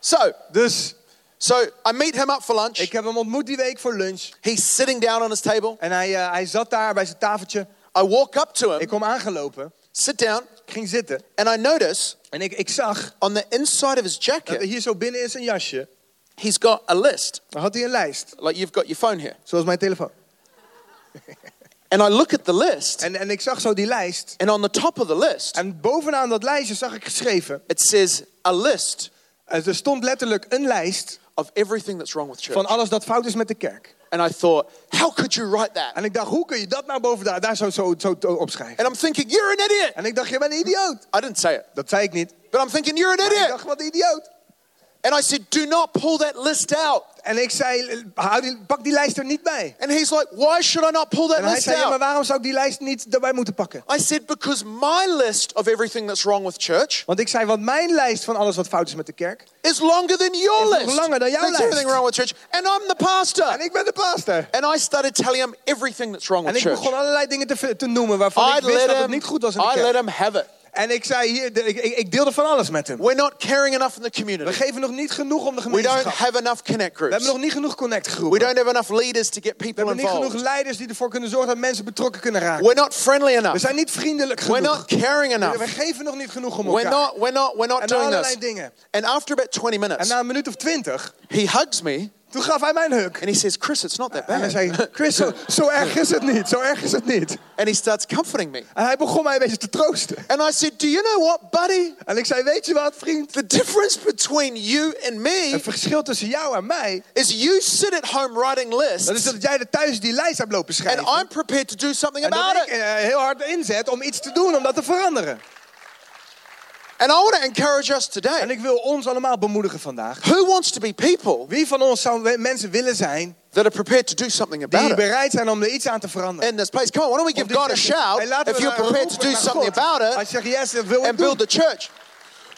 Speaker 2: So,
Speaker 1: Dus
Speaker 2: so I meet him up for lunch.
Speaker 1: ik heb hem ontmoet die week voor lunch.
Speaker 2: He's sitting down on his table.
Speaker 1: En hij, eh, hij zat daar bij zijn tafeltje.
Speaker 2: I walk up to
Speaker 1: Ik
Speaker 2: him,
Speaker 1: kom aangelopen.
Speaker 2: sit down,
Speaker 1: Ik ging zitten.
Speaker 2: and I notice
Speaker 1: En ik, ik zag
Speaker 2: on the inside of his
Speaker 1: dat
Speaker 2: jacket,
Speaker 1: hier zo binnen in zijn jasje.
Speaker 2: he's got a list,
Speaker 1: Dan had hij een lijst.
Speaker 2: like you've got your phone here.
Speaker 1: Zoals mijn telefoon.
Speaker 2: And I look at the list,
Speaker 1: En, en ik zag zo die lijst.
Speaker 2: and on the top of the list,
Speaker 1: En bovenaan dat lijstje zag ik geschreven.
Speaker 2: it says a list
Speaker 1: eh, Er stond letterlijk een lijst
Speaker 2: of everything that's wrong with church.
Speaker 1: van alles dat fout is met de kerk.
Speaker 2: And I thought, how could you write that?
Speaker 1: En ik dacht, hoe kun je dat nou boven daar, daar zo, zo, zo te- opschrijven?
Speaker 2: And I'm thinking, you're an idiot.
Speaker 1: En ik dacht, je bent een idioot.
Speaker 2: I didn't say it,
Speaker 1: Dat zei ik niet.
Speaker 2: but I'm thinking, you're an
Speaker 1: Maar ik
Speaker 2: idiot.
Speaker 1: dacht, wat een idioot.
Speaker 2: And I said, do not pull that list out.
Speaker 1: En ik zei, hou die, pak die lijst er niet bij.
Speaker 2: And he's like, why should I not pull that
Speaker 1: En hij
Speaker 2: list
Speaker 1: zei, ja, maar
Speaker 2: out?
Speaker 1: waarom zou ik die lijst niet erbij moeten pakken?
Speaker 2: I said, because my list of everything that's wrong with church
Speaker 1: Want ik zei, want mijn lijst van alles wat fout is met de kerk.
Speaker 2: is longer than your
Speaker 1: Is nog
Speaker 2: list.
Speaker 1: langer dan jouw
Speaker 2: There's
Speaker 1: lijst.
Speaker 2: everything wrong with church, and I'm the pastor.
Speaker 1: En ik ben de pastor.
Speaker 2: And I started telling him everything that's wrong
Speaker 1: En
Speaker 2: with
Speaker 1: ik
Speaker 2: church.
Speaker 1: begon allerlei dingen te, te noemen waarvan
Speaker 2: I
Speaker 1: ik wist
Speaker 2: let
Speaker 1: dat het
Speaker 2: him.
Speaker 1: niet goed was in de
Speaker 2: I let
Speaker 1: kerk.
Speaker 2: him have it.
Speaker 1: En ik zei hier, de- ik, ik, ik deelde van alles met hem.
Speaker 2: We're not caring enough in the
Speaker 1: We
Speaker 2: community.
Speaker 1: geven nog niet genoeg om de
Speaker 2: We don't
Speaker 1: gemeenschap.
Speaker 2: have enough connect
Speaker 1: We
Speaker 2: groups.
Speaker 1: hebben nog niet genoeg connect
Speaker 2: We
Speaker 1: groepen. We
Speaker 2: don't have enough leaders to get people
Speaker 1: hebben niet genoeg
Speaker 2: involved.
Speaker 1: leiders die ervoor kunnen zorgen dat mensen betrokken kunnen raken.
Speaker 2: We're not friendly
Speaker 1: We
Speaker 2: enough.
Speaker 1: zijn niet vriendelijk
Speaker 2: We're
Speaker 1: genoeg.
Speaker 2: not caring
Speaker 1: We
Speaker 2: enough.
Speaker 1: geven nog niet genoeg om
Speaker 2: We're
Speaker 1: elkaar.
Speaker 2: not. We're not. We're not
Speaker 1: En dan
Speaker 2: doing
Speaker 1: allerlei
Speaker 2: this.
Speaker 1: dingen.
Speaker 2: And after about 20
Speaker 1: En
Speaker 2: minutes,
Speaker 1: na een minuut of twintig,
Speaker 2: he hugs me
Speaker 1: toen gaf hij mij een huk.
Speaker 2: and he says, "Chris, it's not that
Speaker 1: En hij
Speaker 2: bad."
Speaker 1: zei, Chris, zo, zo erg is het niet, zo erg is het niet.
Speaker 2: And he starts comforting me.
Speaker 1: En hij begon mij een beetje te troosten.
Speaker 2: And I said, "Do you know what, buddy?
Speaker 1: En ik zei, weet je wat, vriend?
Speaker 2: The difference between you and me
Speaker 1: Het verschil tussen jou en mij,
Speaker 2: is you sit at home writing
Speaker 1: dat is
Speaker 2: lists,
Speaker 1: dat jij er thuis die lijst hebt lopen
Speaker 2: and
Speaker 1: schrijven.
Speaker 2: I'm prepared to do something
Speaker 1: En
Speaker 2: about
Speaker 1: dat ik
Speaker 2: it.
Speaker 1: eh, heel hard inzet om iets te doen, om dat te veranderen.
Speaker 2: And I want to encourage us
Speaker 1: En
Speaker 2: today.
Speaker 1: ik wil ons allemaal bemoedigen vandaag.
Speaker 2: Who wants to be people
Speaker 1: Wie van ons zou we- mensen willen zijn
Speaker 2: that are prepared to do something
Speaker 1: die
Speaker 2: about it
Speaker 1: bereid zijn om er iets aan te veranderen?
Speaker 2: in this place? Come on, why don't we
Speaker 1: Of
Speaker 2: give
Speaker 1: die
Speaker 2: God a
Speaker 1: zeggen,
Speaker 2: shout
Speaker 1: hey, laten
Speaker 2: if
Speaker 1: we
Speaker 2: you're
Speaker 1: nou
Speaker 2: prepared to
Speaker 1: roepen
Speaker 2: do
Speaker 1: naar
Speaker 2: something
Speaker 1: God.
Speaker 2: about
Speaker 1: Als
Speaker 2: it
Speaker 1: je zegt, yes, dat wil ik
Speaker 2: and build
Speaker 1: doen.
Speaker 2: the church?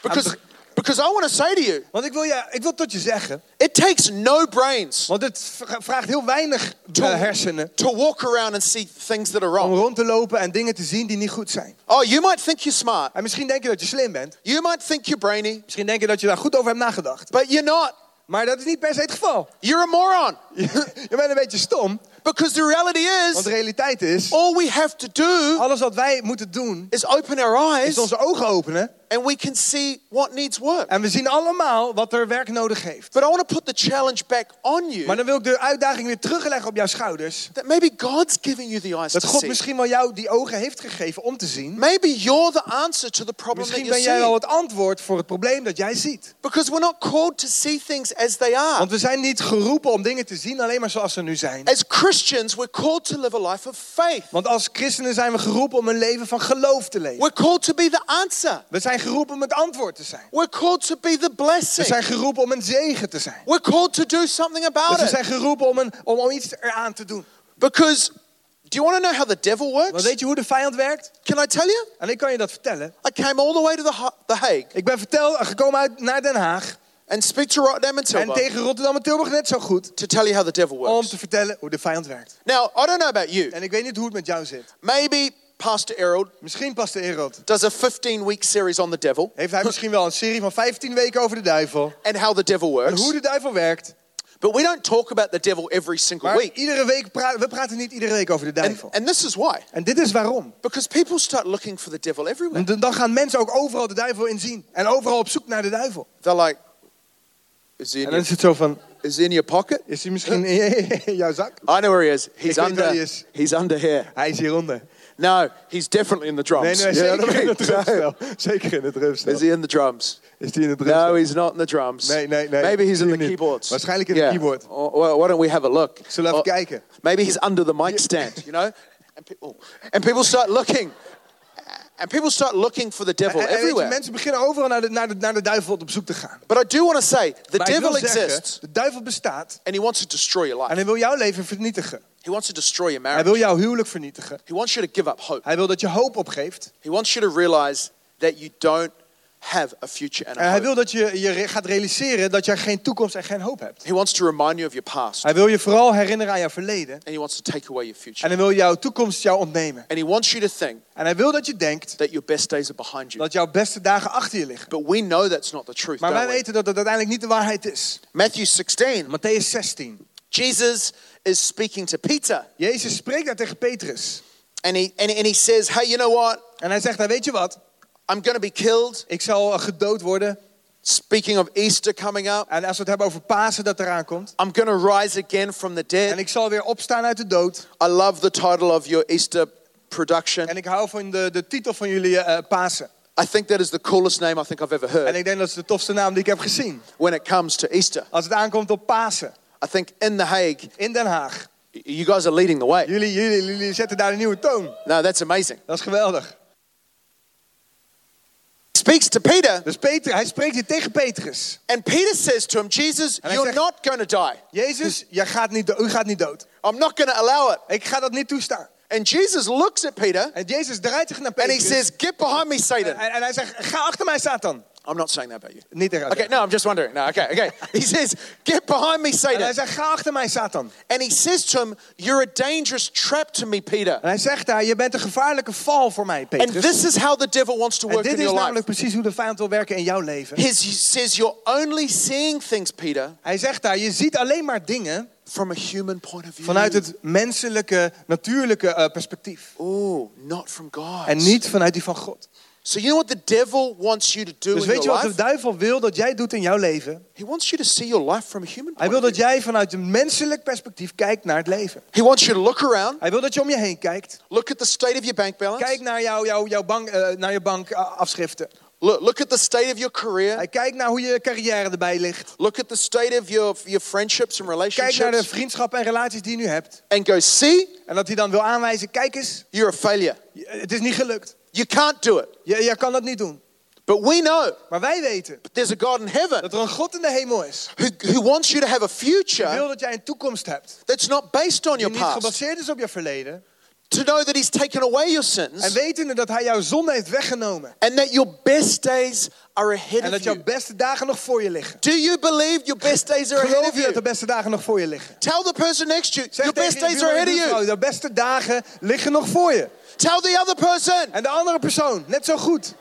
Speaker 2: Because, because I want to say to you,
Speaker 1: Want ik wil, je, ik wil tot je zeggen,
Speaker 2: it takes no brains
Speaker 1: want het v- vraagt heel weinig
Speaker 2: to,
Speaker 1: eh, hersenen
Speaker 2: to walk around and see things that are
Speaker 1: om
Speaker 2: wrong.
Speaker 1: rond te lopen en dingen te zien die niet goed zijn.
Speaker 2: Oh, you might think you're smart,
Speaker 1: En misschien denk je dat je slim bent.
Speaker 2: you might think you're brainy,
Speaker 1: Misschien denk je dat je daar goed over hebt nagedacht.
Speaker 2: but you're not.
Speaker 1: Maar dat is niet per se het geval.
Speaker 2: You're a moron.
Speaker 1: Je bent een beetje stom.
Speaker 2: Because the reality
Speaker 1: Want
Speaker 2: is,
Speaker 1: de realiteit is,
Speaker 2: all we have to do
Speaker 1: alles wat wij moeten doen,
Speaker 2: is open our eyes
Speaker 1: is onze ogen openen.
Speaker 2: and we can see what needs work.
Speaker 1: En we zien allemaal wat er werk nodig heeft.
Speaker 2: But I want to put the challenge back on you
Speaker 1: Maar dan wil ik de uitdaging weer terugleggen op jouw schouders.
Speaker 2: that maybe God's giving you the eyes
Speaker 1: Dat
Speaker 2: to
Speaker 1: God
Speaker 2: see.
Speaker 1: misschien wel jou die ogen heeft gegeven om te zien.
Speaker 2: Maybe you're the answer to the problem that
Speaker 1: Misschien
Speaker 2: you're
Speaker 1: ben jij wel
Speaker 2: seeing.
Speaker 1: het antwoord voor het probleem dat jij ziet.
Speaker 2: Because we're not called to see things as they are.
Speaker 1: Want we zijn niet geroepen om dingen te zien alleen maar zoals ze nu zijn.
Speaker 2: As Christians, we're called to live a life of faith.
Speaker 1: Want als christenen zijn we geroepen om een leven van geloof te leven.
Speaker 2: We're called to be the answer.
Speaker 1: We zijn geroepen om het antwoord te zijn.
Speaker 2: We're called to be the
Speaker 1: We
Speaker 2: blessing.
Speaker 1: zijn geroepen om een zegen te zijn.
Speaker 2: We're called to do something
Speaker 1: Dus
Speaker 2: about
Speaker 1: we
Speaker 2: it.
Speaker 1: zijn geroepen om, een, om, om iets eraan te doen.
Speaker 2: Because do you want to know how the devil
Speaker 1: Want
Speaker 2: works?
Speaker 1: weet je hoe de vijand werkt?
Speaker 2: Can I tell you?
Speaker 1: En ik kan je dat vertellen.
Speaker 2: I came all the way to the, Ha- the Hague
Speaker 1: Ik ben vertel, gekomen uit, naar Den Haag.
Speaker 2: and speak to Rotterdam and
Speaker 1: En
Speaker 2: Tilburg
Speaker 1: tegen Rotterdam en Tilburg net zo goed.
Speaker 2: to tell you how the devil
Speaker 1: Om
Speaker 2: works.
Speaker 1: te vertellen hoe de vijand werkt.
Speaker 2: Now, I don't know about you.
Speaker 1: En ik weet niet hoe het met jou zit.
Speaker 2: Maybe Pastor Errol
Speaker 1: Misschien past de Erod.
Speaker 2: does a 15 week series on the devil
Speaker 1: Heeft hij misschien wel een serie van 15 weken over de duivel.
Speaker 2: and how the devil
Speaker 1: En
Speaker 2: works.
Speaker 1: hoe de duivel werkt.
Speaker 2: But we don't talk about the devil every single
Speaker 1: Maar
Speaker 2: week.
Speaker 1: iedere week pra- we praten niet iedere week over de
Speaker 2: And,
Speaker 1: duivel.
Speaker 2: and this is why.
Speaker 1: En dit is waarom.
Speaker 2: Because people start looking for the devil everywhere.
Speaker 1: Want dan gaan mensen ook overal de duivel in zien. En overal op zoek naar de duivel.
Speaker 2: They're like, is he
Speaker 1: En
Speaker 2: in,
Speaker 1: dan is
Speaker 2: your,
Speaker 1: het zo van,
Speaker 2: is he in your pocket?
Speaker 1: is hij misschien in jouw zak?
Speaker 2: I know where he is. He's
Speaker 1: Ik weet waar
Speaker 2: under.
Speaker 1: hij is.
Speaker 2: He's under here.
Speaker 1: Hij is hieronder.
Speaker 2: No, he's definitely in the drums.
Speaker 1: Nee, nee,
Speaker 2: You know
Speaker 1: zeker
Speaker 2: what I
Speaker 1: in
Speaker 2: mean?
Speaker 1: het
Speaker 2: So,
Speaker 1: drumstel. Zeker in het drumstel.
Speaker 2: is he in the drums?
Speaker 1: Nou, Is die in het
Speaker 2: No,
Speaker 1: drumstel?
Speaker 2: he's not in the drums.
Speaker 1: Nee, nee, nee.
Speaker 2: Maybe he's in
Speaker 1: Zie
Speaker 2: the
Speaker 1: hem niet.
Speaker 2: keyboards.
Speaker 1: Waarschijnlijk in de keyboard.
Speaker 2: Oh, well, why don't we have a look?
Speaker 1: Zullen we even
Speaker 2: Oh,
Speaker 1: kijken?
Speaker 2: Maybe he's under the mic stand, you know? And, pe- oh. and people start looking. And people start looking for the devil
Speaker 1: En- en Eh, weet je,
Speaker 2: everywhere.
Speaker 1: mensen beginnen overal naar de, naar, de, naar de duivel op zoek te gaan.
Speaker 2: But I do want to say the
Speaker 1: Maar ik wil
Speaker 2: devil
Speaker 1: zeggen,
Speaker 2: exists
Speaker 1: de duivel bestaat
Speaker 2: and he wants to destroy your
Speaker 1: en
Speaker 2: life.
Speaker 1: hij wil jouw leven vernietigen.
Speaker 2: He wants to destroy your
Speaker 1: Hij wil
Speaker 2: marriage.
Speaker 1: jouw huwelijk vernietigen.
Speaker 2: He wants you to give up hope.
Speaker 1: Hij wil dat je hoop opgeeft.
Speaker 2: He wants you to realize that you don't have a future and
Speaker 1: En
Speaker 2: a
Speaker 1: Eh, hij
Speaker 2: hope.
Speaker 1: wil dat je je re- gaat realiseren dat jij geen toekomst en geen hoop hebt.
Speaker 2: He wants to remind you of your past
Speaker 1: Hij wil je vooral herinneren aan jouw verleden.
Speaker 2: and he wants to take away your future.
Speaker 1: En hij wil jouw toekomst jou ontnemen.
Speaker 2: And he wants you to think
Speaker 1: En hij wil dat je denkt
Speaker 2: that your best days are behind you.
Speaker 1: dat jouw beste dagen achter je liggen.
Speaker 2: But we know that's not the truth.
Speaker 1: Maar wij
Speaker 2: Don't we?
Speaker 1: weten dat dat uiteindelijk niet de waarheid is.
Speaker 2: Matthew 16,
Speaker 1: Matthäus 16.
Speaker 2: Jesus is speaking to Peter
Speaker 1: Jezus spreekt daar tegen Petrus.
Speaker 2: and he, and, and he says, Hey, you know what?
Speaker 1: En hij zegt, nou weet je wat?
Speaker 2: I'm going to be killed.
Speaker 1: Ik zal eh, gedood worden.
Speaker 2: Speaking of Easter coming up,
Speaker 1: En als we het hebben over Pasen dat eraan komt.
Speaker 2: I'm going to rise again from the
Speaker 1: En
Speaker 2: dead.
Speaker 1: ik zal weer opstaan uit de dood.
Speaker 2: I love the title of your Easter production.
Speaker 1: En ik hou van de, de titel van jullie eh, Pasen.
Speaker 2: I think that is the coolest name I think I've ever
Speaker 1: En
Speaker 2: heard
Speaker 1: ik denk dat is de tofste naam die ik heb gezien.
Speaker 2: when it comes to Easter.
Speaker 1: Als het aankomt op Pasen
Speaker 2: I think in The Hague,
Speaker 1: in Den Haag.
Speaker 2: y- you guys are leading the way.
Speaker 1: Jullie, jullie, jullie zetten daar een nieuwe toon.
Speaker 2: No, that's amazing.
Speaker 1: Dat is geweldig.
Speaker 2: Speaks to Peter,
Speaker 1: Dus Peter, hij spreekt hier tegen Petrus.
Speaker 2: and Peter says to him, Jesus,
Speaker 1: En hij
Speaker 2: you're
Speaker 1: zegt-
Speaker 2: not going to die.
Speaker 1: Jezus, jij gaat niet do- u gaat niet dood.
Speaker 2: I'm not going to allow it.
Speaker 1: Ik ga dat niet toestaan.
Speaker 2: And Jesus looks at Peter
Speaker 1: En Jezus draait zich naar
Speaker 2: and
Speaker 1: Petrus.
Speaker 2: he says, Get behind me, Satan.
Speaker 1: en, en hij zegt, ga achter mij, Satan.
Speaker 2: I'm not saying that about you.
Speaker 1: Niet tegen
Speaker 2: Okay, no, I'm just wondering. No, okay, okay. He says, Get behind me,
Speaker 1: En hij
Speaker 2: Satan.
Speaker 1: zegt, ga achter mij, Satan.
Speaker 2: And he says to him, You're a dangerous trap to me, Peter.
Speaker 1: En hij zegt daar, je bent een gevaarlijke val voor mij,
Speaker 2: And
Speaker 1: Petrus.
Speaker 2: this is how the devil wants to
Speaker 1: En
Speaker 2: work
Speaker 1: dit
Speaker 2: in
Speaker 1: is
Speaker 2: your life.
Speaker 1: namelijk precies hoe de vijand wil werken in jouw leven.
Speaker 2: He says, You're only seeing things, Peter,
Speaker 1: Hij zegt daar, je ziet alleen maar dingen
Speaker 2: from a human point of view.
Speaker 1: vanuit het menselijke, natuurlijke eh, perspectief.
Speaker 2: Oh, not from God.
Speaker 1: En niet vanuit die van God.
Speaker 2: So you know what the devil wants you to do
Speaker 1: Dus
Speaker 2: in
Speaker 1: weet je wat
Speaker 2: your
Speaker 1: de
Speaker 2: life?
Speaker 1: duivel wil dat jij doet in jouw leven?
Speaker 2: He wants you to see your life from a human
Speaker 1: Hij
Speaker 2: point
Speaker 1: wil
Speaker 2: of
Speaker 1: dat
Speaker 2: view.
Speaker 1: jij vanuit een menselijk perspectief kijkt naar het leven.
Speaker 2: He wants you to look around,
Speaker 1: Hij wil dat je om je heen kijkt.
Speaker 2: look at the state of your bank balance,
Speaker 1: Kijk naar, jouw jouw jouw bank, eh, naar je bankafschriften.
Speaker 2: look, look at the state of your career,
Speaker 1: Hij kijkt naar hoe je carrière erbij ligt.
Speaker 2: look at the state of your, your friendships and
Speaker 1: Kijk naar de
Speaker 2: relationships,
Speaker 1: vriendschappen en relaties die je nu hebt.
Speaker 2: and go, see,
Speaker 1: En dat hij dan wil aanwijzen, kijk eens,
Speaker 2: you're a failure.
Speaker 1: je- het is niet gelukt.
Speaker 2: You can't do it.
Speaker 1: Je, jij kan dat niet doen.
Speaker 2: But we know
Speaker 1: Maar wij weten
Speaker 2: there's a God in heaven
Speaker 1: dat er een God in de hemel is.
Speaker 2: who, who wants you to have a
Speaker 1: Hij wil
Speaker 2: future
Speaker 1: dat jij een toekomst hebt.
Speaker 2: that's not based on
Speaker 1: Die
Speaker 2: your
Speaker 1: niet
Speaker 2: past,
Speaker 1: gebaseerd is op je verleden.
Speaker 2: to know that He's taken away your
Speaker 1: En
Speaker 2: sins,
Speaker 1: wetende dat hij jouw zonde heeft weggenomen.
Speaker 2: and that your best days are
Speaker 1: En
Speaker 2: ahead
Speaker 1: dat
Speaker 2: of
Speaker 1: jouw
Speaker 2: you.
Speaker 1: beste dagen nog voor je liggen.
Speaker 2: Do you believe your best days are ahead
Speaker 1: Geloof
Speaker 2: of
Speaker 1: je dat de
Speaker 2: you?
Speaker 1: beste dagen nog voor je liggen?
Speaker 2: Tell the person next to you,
Speaker 1: Zeg
Speaker 2: your
Speaker 1: tegen
Speaker 2: best
Speaker 1: je
Speaker 2: days
Speaker 1: buurman
Speaker 2: are
Speaker 1: en
Speaker 2: ahead of
Speaker 1: buurvrouw,
Speaker 2: you.
Speaker 1: De beste dagen liggen nog voor je.
Speaker 2: Tell the other person,
Speaker 1: En de andere persoon, net zo goed.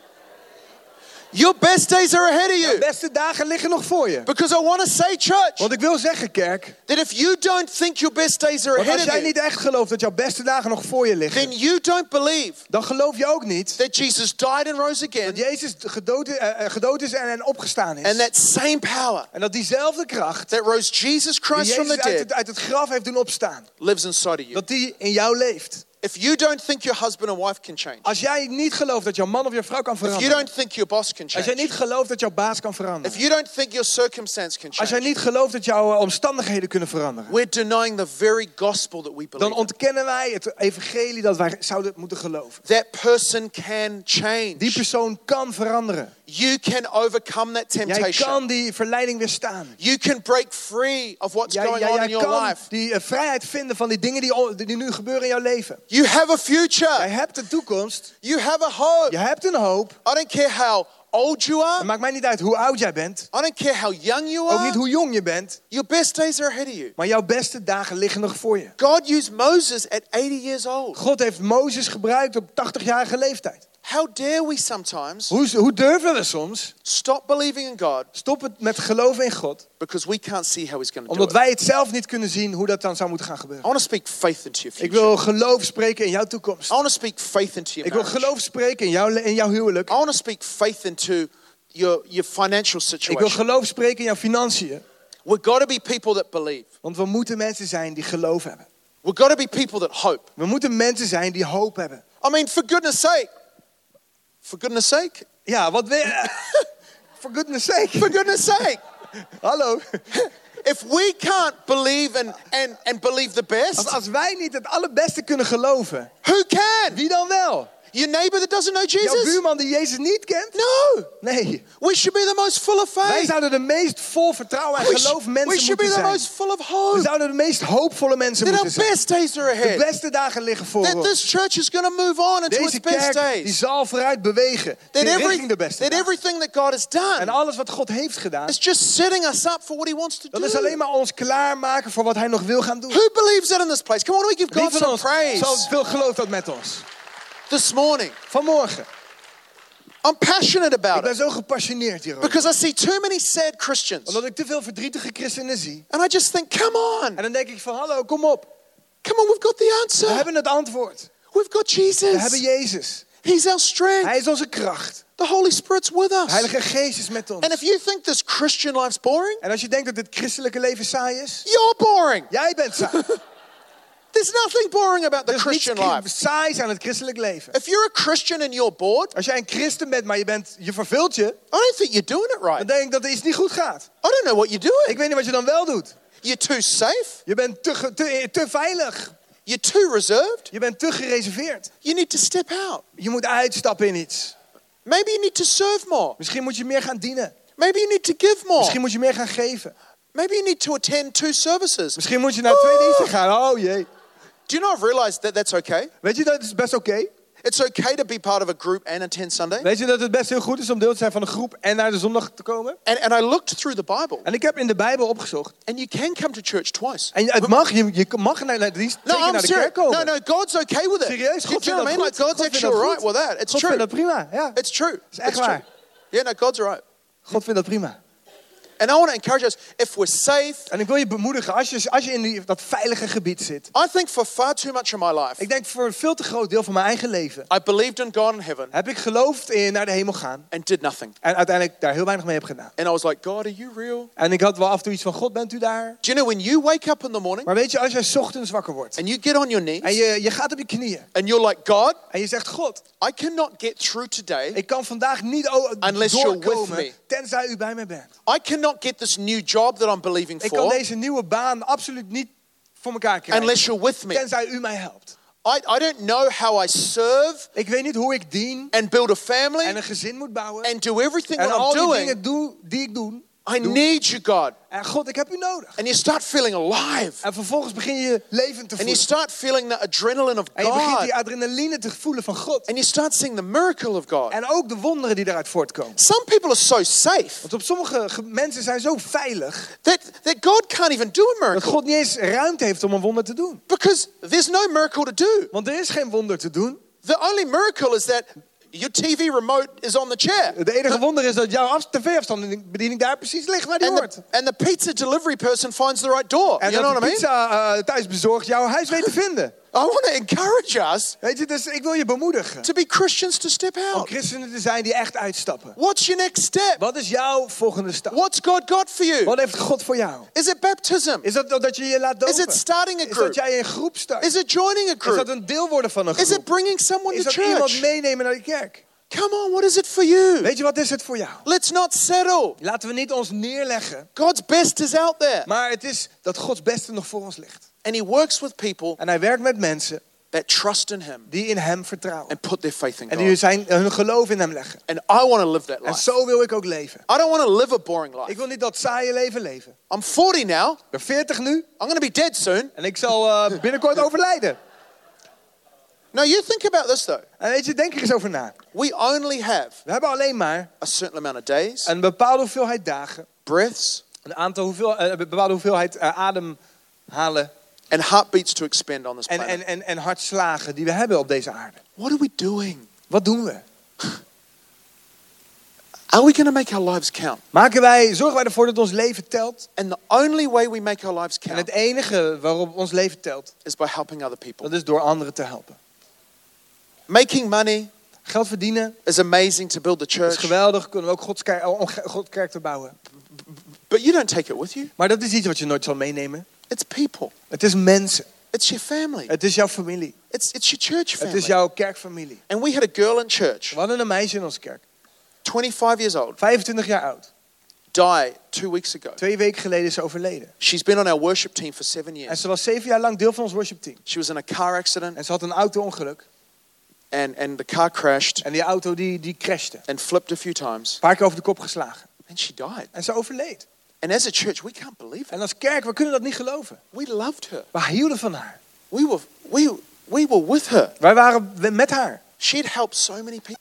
Speaker 2: your best days are ahead of
Speaker 1: De
Speaker 2: you.
Speaker 1: beste dagen liggen nog voor je.
Speaker 2: Because I want to say, church,
Speaker 1: Want ik wil zeggen, kerk,
Speaker 2: that if you don't think your best days are
Speaker 1: want als
Speaker 2: ahead
Speaker 1: jij
Speaker 2: of you,
Speaker 1: niet echt gelooft dat jouw beste dagen nog voor je
Speaker 2: then
Speaker 1: liggen,
Speaker 2: you don't believe
Speaker 1: dan geloof je ook niet
Speaker 2: that Jesus died and rose again,
Speaker 1: dat Jezus gedood, eh, eh, gedood is en, en opgestaan
Speaker 2: and
Speaker 1: is.
Speaker 2: that same power
Speaker 1: En dat diezelfde kracht
Speaker 2: that rose Jesus
Speaker 1: die
Speaker 2: Christ from the
Speaker 1: Jezus uit
Speaker 2: dead
Speaker 1: het, uit het graf heeft doen opstaan,
Speaker 2: lives inside of you.
Speaker 1: dat die in jou leeft.
Speaker 2: If you don't think your husband and wife can change,
Speaker 1: Als jij niet gelooft dat jouw man of jouw vrouw kan
Speaker 2: if you
Speaker 1: veranderen,
Speaker 2: don't think your boss can
Speaker 1: als jij
Speaker 2: change,
Speaker 1: niet gelooft dat jouw baas kan
Speaker 2: if
Speaker 1: veranderen,
Speaker 2: you don't think your circumstance can
Speaker 1: als jij
Speaker 2: change,
Speaker 1: niet gelooft dat jouw eh, omstandigheden kunnen veranderen,
Speaker 2: we're denying the very gospel that we
Speaker 1: dan
Speaker 2: believe. in.
Speaker 1: ontkennen wij het evangelie dat wij zouden moeten geloven.
Speaker 2: That person
Speaker 1: Die
Speaker 2: can change.
Speaker 1: persoon kan veranderen.
Speaker 2: You can overcome that
Speaker 1: Jij
Speaker 2: temptation.
Speaker 1: kan die verleiding weerstaan.
Speaker 2: You can break free of what's
Speaker 1: Jij,
Speaker 2: going
Speaker 1: jij,
Speaker 2: on in
Speaker 1: jij
Speaker 2: your
Speaker 1: kan
Speaker 2: life.
Speaker 1: die eh, vrijheid vinden van die dingen die, o- die nu gebeuren in jouw leven.
Speaker 2: You have
Speaker 1: Jij
Speaker 2: a future.
Speaker 1: hebt een toekomst.
Speaker 2: You have a hope.
Speaker 1: Je hebt een hoop.
Speaker 2: I don't care how old you
Speaker 1: Het
Speaker 2: are.
Speaker 1: maakt mij niet uit hoe oud jij bent.
Speaker 2: I don't care how young you
Speaker 1: Ook niet
Speaker 2: are.
Speaker 1: hoe jong je bent.
Speaker 2: Your best days are ahead of you.
Speaker 1: Maar jouw beste dagen liggen nog voor je.
Speaker 2: God used Moses at 80 years old.
Speaker 1: God heeft Mozes gebruikt op 80-jarige leeftijd.
Speaker 2: How dare we sometimes
Speaker 1: Hoe, hoe durven we soms
Speaker 2: stop believing in God
Speaker 1: stoppen met geloven in God,
Speaker 2: because we can't see how He's going to do
Speaker 1: omdat
Speaker 2: it?
Speaker 1: wij het zelf niet kunnen zien hoe dat dan zou moeten gaan
Speaker 2: I
Speaker 1: gebeuren?
Speaker 2: want to speak faith into your
Speaker 1: Ik
Speaker 2: future.
Speaker 1: wil geloof spreken in jouw toekomst.
Speaker 2: I want to speak faith into your
Speaker 1: Ik wil
Speaker 2: marriage.
Speaker 1: geloof spreken in jouw, le- in jouw huwelijk.
Speaker 2: I want to speak faith into your, your financial
Speaker 1: Ik wil
Speaker 2: situation.
Speaker 1: geloof spreken in jouw financiën.
Speaker 2: We've got to be people that believe.
Speaker 1: Want we moeten mensen zijn die geloof hebben.
Speaker 2: We've got to be people that hope.
Speaker 1: We moeten mensen zijn die hoop hebben.
Speaker 2: I mean, for goodness sake. For goodness sake.
Speaker 1: Ja, wat weer. For goodness sake.
Speaker 2: For goodness sake.
Speaker 1: Hallo.
Speaker 2: If we can't believe and, and, and believe the
Speaker 1: Als,
Speaker 2: best,
Speaker 1: als wij niet het allerbeste kunnen geloven,
Speaker 2: who can?
Speaker 1: wie dan wel?
Speaker 2: Your neighbor that doesn't know
Speaker 1: Jouw
Speaker 2: Jesus?
Speaker 1: buurman die Jezus niet kent?
Speaker 2: No.
Speaker 1: Nee.
Speaker 2: We should be the most full of
Speaker 1: Wij
Speaker 2: faith.
Speaker 1: zouden de meest vol vertrouwen en
Speaker 2: We, sh-
Speaker 1: geloof
Speaker 2: we
Speaker 1: mensen
Speaker 2: should be
Speaker 1: moeten
Speaker 2: the
Speaker 1: zijn.
Speaker 2: most full of
Speaker 1: We
Speaker 2: hope.
Speaker 1: zouden de meest hoopvolle mensen
Speaker 2: That our
Speaker 1: moeten zijn.
Speaker 2: best days are
Speaker 1: De
Speaker 2: ahead.
Speaker 1: beste dagen liggen voor
Speaker 2: That
Speaker 1: ons.
Speaker 2: this church is going to move on into its
Speaker 1: Deze
Speaker 2: best
Speaker 1: kerk die
Speaker 2: days.
Speaker 1: zal vooruit bewegen.
Speaker 2: That,
Speaker 1: in
Speaker 2: every-
Speaker 1: richting de beste
Speaker 2: that
Speaker 1: dagen.
Speaker 2: everything that God has
Speaker 1: En
Speaker 2: done
Speaker 1: alles wat God heeft gedaan,
Speaker 2: is just setting us up for what He wants to
Speaker 1: dat is alleen
Speaker 2: do.
Speaker 1: maar ons klaarmaken voor wat hij nog wil gaan doen.
Speaker 2: Who believes that in this place? Come on, we give
Speaker 1: Wie
Speaker 2: God
Speaker 1: van
Speaker 2: some
Speaker 1: ons zo
Speaker 2: praise
Speaker 1: veel gelooft dat met ons?
Speaker 2: this morning.
Speaker 1: Vanmorgen.
Speaker 2: Nou, I'm passionate
Speaker 1: Ik
Speaker 2: about
Speaker 1: ben
Speaker 2: it
Speaker 1: zo gepassioneerd hierover.
Speaker 2: because I see too many sad Christians.
Speaker 1: Omdat ik te veel verdrietige christenen zie.
Speaker 2: And I just think, come on,
Speaker 1: En dan denk ik van, hallo, kom op.
Speaker 2: come on, we've got the
Speaker 1: We
Speaker 2: answer.
Speaker 1: hebben het antwoord.
Speaker 2: We've got
Speaker 1: We hebben Jezus.
Speaker 2: Jesus. He's our strength.
Speaker 1: Hij is onze kracht.
Speaker 2: The Holy Spirit's with
Speaker 1: De
Speaker 2: us.
Speaker 1: Heilige Geest is met ons.
Speaker 2: And if you think this Christian life's boring,
Speaker 1: En als je denkt dat dit christelijke leven saai is,
Speaker 2: you're boring.
Speaker 1: jij bent saai.
Speaker 2: There's nothing boring about the
Speaker 1: Er is
Speaker 2: Christian life.
Speaker 1: niets saais aan het christelijk leven.
Speaker 2: If you're a Christian and you're bored,
Speaker 1: Als jij een christen bent, maar je, bent, je verveelt je,
Speaker 2: I don't think you're doing it
Speaker 1: dan
Speaker 2: right.
Speaker 1: denk ik dat er iets niet goed gaat.
Speaker 2: I don't know what you're
Speaker 1: Ik
Speaker 2: doing.
Speaker 1: weet niet wat je dan wel doet.
Speaker 2: You're too safe.
Speaker 1: Je bent te, ge- te, te veilig.
Speaker 2: You're too reserved.
Speaker 1: Je bent te gereserveerd.
Speaker 2: You need to step out.
Speaker 1: Je moet uitstappen in iets.
Speaker 2: Maybe you need to serve more.
Speaker 1: Misschien moet je meer gaan dienen.
Speaker 2: Maybe you need to give more.
Speaker 1: Misschien moet je meer gaan geven.
Speaker 2: Maybe you need to attend two services.
Speaker 1: Misschien moet je naar twee diensten gaan. Oh jee.
Speaker 2: Do you know I've realized that that's okay?
Speaker 1: Weet je dat het is best oké?
Speaker 2: It's okay to be part of a group and attend Sunday.
Speaker 1: Weet je dat het best heel goed is om deel te zijn van een groep en naar de zondag te komen?
Speaker 2: And, and I looked through the Bible,
Speaker 1: En ik heb in de Bijbel opgezocht.
Speaker 2: and you can come to church twice.
Speaker 1: En het mag, je, je mag naar, naar de dienst
Speaker 2: No,
Speaker 1: twee keer
Speaker 2: I'm
Speaker 1: naar de
Speaker 2: serious.
Speaker 1: kerk komen.
Speaker 2: No, no, God's okay with it.
Speaker 1: Serieus, God
Speaker 2: Do you
Speaker 1: vindt
Speaker 2: know what
Speaker 1: dat
Speaker 2: I mean? Like,
Speaker 1: goed.
Speaker 2: God's
Speaker 1: God vindt
Speaker 2: actually
Speaker 1: dat
Speaker 2: alright
Speaker 1: goed.
Speaker 2: with that. It's
Speaker 1: God vindt
Speaker 2: true.
Speaker 1: dat prima. Ja.
Speaker 2: It's true.
Speaker 1: is echt
Speaker 2: It's true.
Speaker 1: waar.
Speaker 2: Yeah, no, God's all right.
Speaker 1: God vindt dat prima.
Speaker 2: And I want to encourage us if we're safe,
Speaker 1: En ik wil je bemoedigen, als je, als je in die, dat veilige gebied zit.
Speaker 2: I think for far too much of my life,
Speaker 1: Ik denk voor een veel te groot deel van mijn eigen leven.
Speaker 2: I believed in God and heaven
Speaker 1: Heb ik geloofd in naar de hemel gaan.
Speaker 2: and did nothing.
Speaker 1: En uiteindelijk daar heel weinig mee heb gedaan.
Speaker 2: And I was like, God, are you real?
Speaker 1: En ik had wel af en toe iets van, God bent u daar?
Speaker 2: Do you know when you wake up in the morning
Speaker 1: Maar weet je, als jij 's ochtends wakker wordt.
Speaker 2: and you get on your knees
Speaker 1: En je, je gaat op je knieën.
Speaker 2: and you're like, God,
Speaker 1: En je zegt, God,
Speaker 2: I cannot get through today.
Speaker 1: ik kan vandaag niet o-
Speaker 2: Unless you're with me.
Speaker 1: doorkomen tenzij u bij mij bent.
Speaker 2: I cannot get this new job that I'm believing
Speaker 1: Ik kan
Speaker 2: for
Speaker 1: deze nieuwe baan absoluut niet voor elkaar krijgen.
Speaker 2: unless you're with me.
Speaker 1: Tenzij u mij helpt.
Speaker 2: I, I don't know how I serve
Speaker 1: Ik weet niet hoe ik dien
Speaker 2: and build a family
Speaker 1: en een gezin moet bouwen.
Speaker 2: and do everything
Speaker 1: en
Speaker 2: what
Speaker 1: al
Speaker 2: I'm
Speaker 1: die
Speaker 2: doing.
Speaker 1: dingen doe, die ik doe.
Speaker 2: I
Speaker 1: doe.
Speaker 2: need you, God.
Speaker 1: En God, ik heb u nodig.
Speaker 2: And you start feeling alive.
Speaker 1: En vervolgens begin je levend te
Speaker 2: And you
Speaker 1: voelen.
Speaker 2: start feeling the adrenaline of
Speaker 1: En je begint
Speaker 2: God.
Speaker 1: die adrenaline te voelen van God.
Speaker 2: And you start seeing the miracle of God.
Speaker 1: En ook de wonderen die daaruit voortkomen.
Speaker 2: Some people are so safe
Speaker 1: Want op sommige ge- mensen zijn zo veilig
Speaker 2: that, that God can't even do a
Speaker 1: dat
Speaker 2: miracle
Speaker 1: God niet eens ruimte heeft om een wonder te doen.
Speaker 2: because there's no miracle to do.
Speaker 1: Want er is geen wonder te doen.
Speaker 2: The only miracle is that your TV remote is on the chair.
Speaker 1: Het enige wonder is dat jouw af- tv-afstandsbediening daar precies ligt waar die
Speaker 2: And
Speaker 1: hoort.
Speaker 2: the, and the pizza delivery person finds the right door.
Speaker 1: En
Speaker 2: you know
Speaker 1: dat de
Speaker 2: what I mean?
Speaker 1: pizza eh, thuis bezorgd jouw huis weet te vinden.
Speaker 2: I want to encourage us
Speaker 1: Weet je, dus ik wil je bemoedigen.
Speaker 2: to be Christians to step
Speaker 1: Om
Speaker 2: out.
Speaker 1: christenen te zijn die echt uitstappen.
Speaker 2: What's your next step?
Speaker 1: Wat is jouw volgende stap?
Speaker 2: What's God got for you?
Speaker 1: Wat heeft God voor jou?
Speaker 2: Is it baptism?
Speaker 1: Is dat dat je je laat
Speaker 2: Is
Speaker 1: dopen?
Speaker 2: it starting a
Speaker 1: Is dat
Speaker 2: group?
Speaker 1: jij een groep start?
Speaker 2: Is it joining a
Speaker 1: Is dat
Speaker 2: group?
Speaker 1: een deel worden van een
Speaker 2: Is it
Speaker 1: groep?
Speaker 2: bringing someone
Speaker 1: Is
Speaker 2: to
Speaker 1: dat iemand
Speaker 2: church?
Speaker 1: meenemen naar de kerk?
Speaker 2: Come on, what is it for you?
Speaker 1: Weet je, wat is het voor jou?
Speaker 2: Let's not settle.
Speaker 1: Laten we niet ons neerleggen.
Speaker 2: God's best is out there.
Speaker 1: Maar het is dat Gods beste nog voor ons ligt.
Speaker 2: And He works with people
Speaker 1: En hij werkt met mensen
Speaker 2: that trust in Him
Speaker 1: die in hem vertrouwen.
Speaker 2: and put their faith in
Speaker 1: En die
Speaker 2: God.
Speaker 1: zijn, hun geloof in hem leggen.
Speaker 2: And I want to live that
Speaker 1: En
Speaker 2: life.
Speaker 1: zo wil ik ook leven.
Speaker 2: I don't want to live a boring
Speaker 1: Ik
Speaker 2: life.
Speaker 1: wil niet dat saaie leven leven.
Speaker 2: I'm 40 now.
Speaker 1: Ik ben 40 nu
Speaker 2: I'm going to be dead soon.
Speaker 1: en ik zal eh, binnenkort overlijden.
Speaker 2: No, you think about this though.
Speaker 1: En weet je, denk er eens over na.
Speaker 2: We only have
Speaker 1: We hebben alleen maar
Speaker 2: a certain amount of days,
Speaker 1: een bepaalde hoeveelheid dagen,
Speaker 2: breaths,
Speaker 1: een aantal hoeveel, eh, een bepaalde hoeveelheid eh, ademhalen
Speaker 2: and heartbeats to expend on this
Speaker 1: en,
Speaker 2: planet.
Speaker 1: en, en, en hartslagen die we hebben op deze aarde.
Speaker 2: what are we doing?
Speaker 1: Wat doen we?
Speaker 2: Are we going to make our lives count?
Speaker 1: Maken wij, zorgen wij ervoor dat ons leven telt?
Speaker 2: And the only way we make our lives
Speaker 1: En
Speaker 2: count
Speaker 1: het enige waarop ons leven telt,
Speaker 2: is by helping other people.
Speaker 1: dat is door anderen te helpen.
Speaker 2: Making money
Speaker 1: Geld verdienen
Speaker 2: is amazing to build the
Speaker 1: is
Speaker 2: church,
Speaker 1: geweldig, kunnen we ook Gods kerk, om ge- Gods kerk te bouwen.
Speaker 2: but you don't take it with you.
Speaker 1: Maar dat is iets wat je nooit zal meenemen.
Speaker 2: It's people.
Speaker 1: Het is mensen.
Speaker 2: It's your family.
Speaker 1: Het is jouw familie.
Speaker 2: It's, it's your church
Speaker 1: Het
Speaker 2: family.
Speaker 1: is jouw kerkfamilie.
Speaker 2: And we had a girl in church,
Speaker 1: We hadden een meisje in onze kerk,
Speaker 2: 25 years old,
Speaker 1: 25 jaar oud.
Speaker 2: die two weeks ago.
Speaker 1: Twee weken geleden is ze overleden.
Speaker 2: She's been on our worship team for seven
Speaker 1: En
Speaker 2: years.
Speaker 1: ze was zeven jaar lang deel van ons worshipteam.
Speaker 2: She was in a car accident
Speaker 1: En ze had een auto-ongeluk.
Speaker 2: and, and the car crashed
Speaker 1: En die auto die, die crashte. Een
Speaker 2: and flipped a few times
Speaker 1: paar keer over de kop geslagen.
Speaker 2: and she died.
Speaker 1: En ze overleed.
Speaker 2: And as a church, we can't believe it.
Speaker 1: En als kerk, we kunnen dat niet geloven.
Speaker 2: We loved her.
Speaker 1: We hielden van haar.
Speaker 2: We were, we, we were with her.
Speaker 1: Wij waren met haar.
Speaker 2: She'd helped so many people.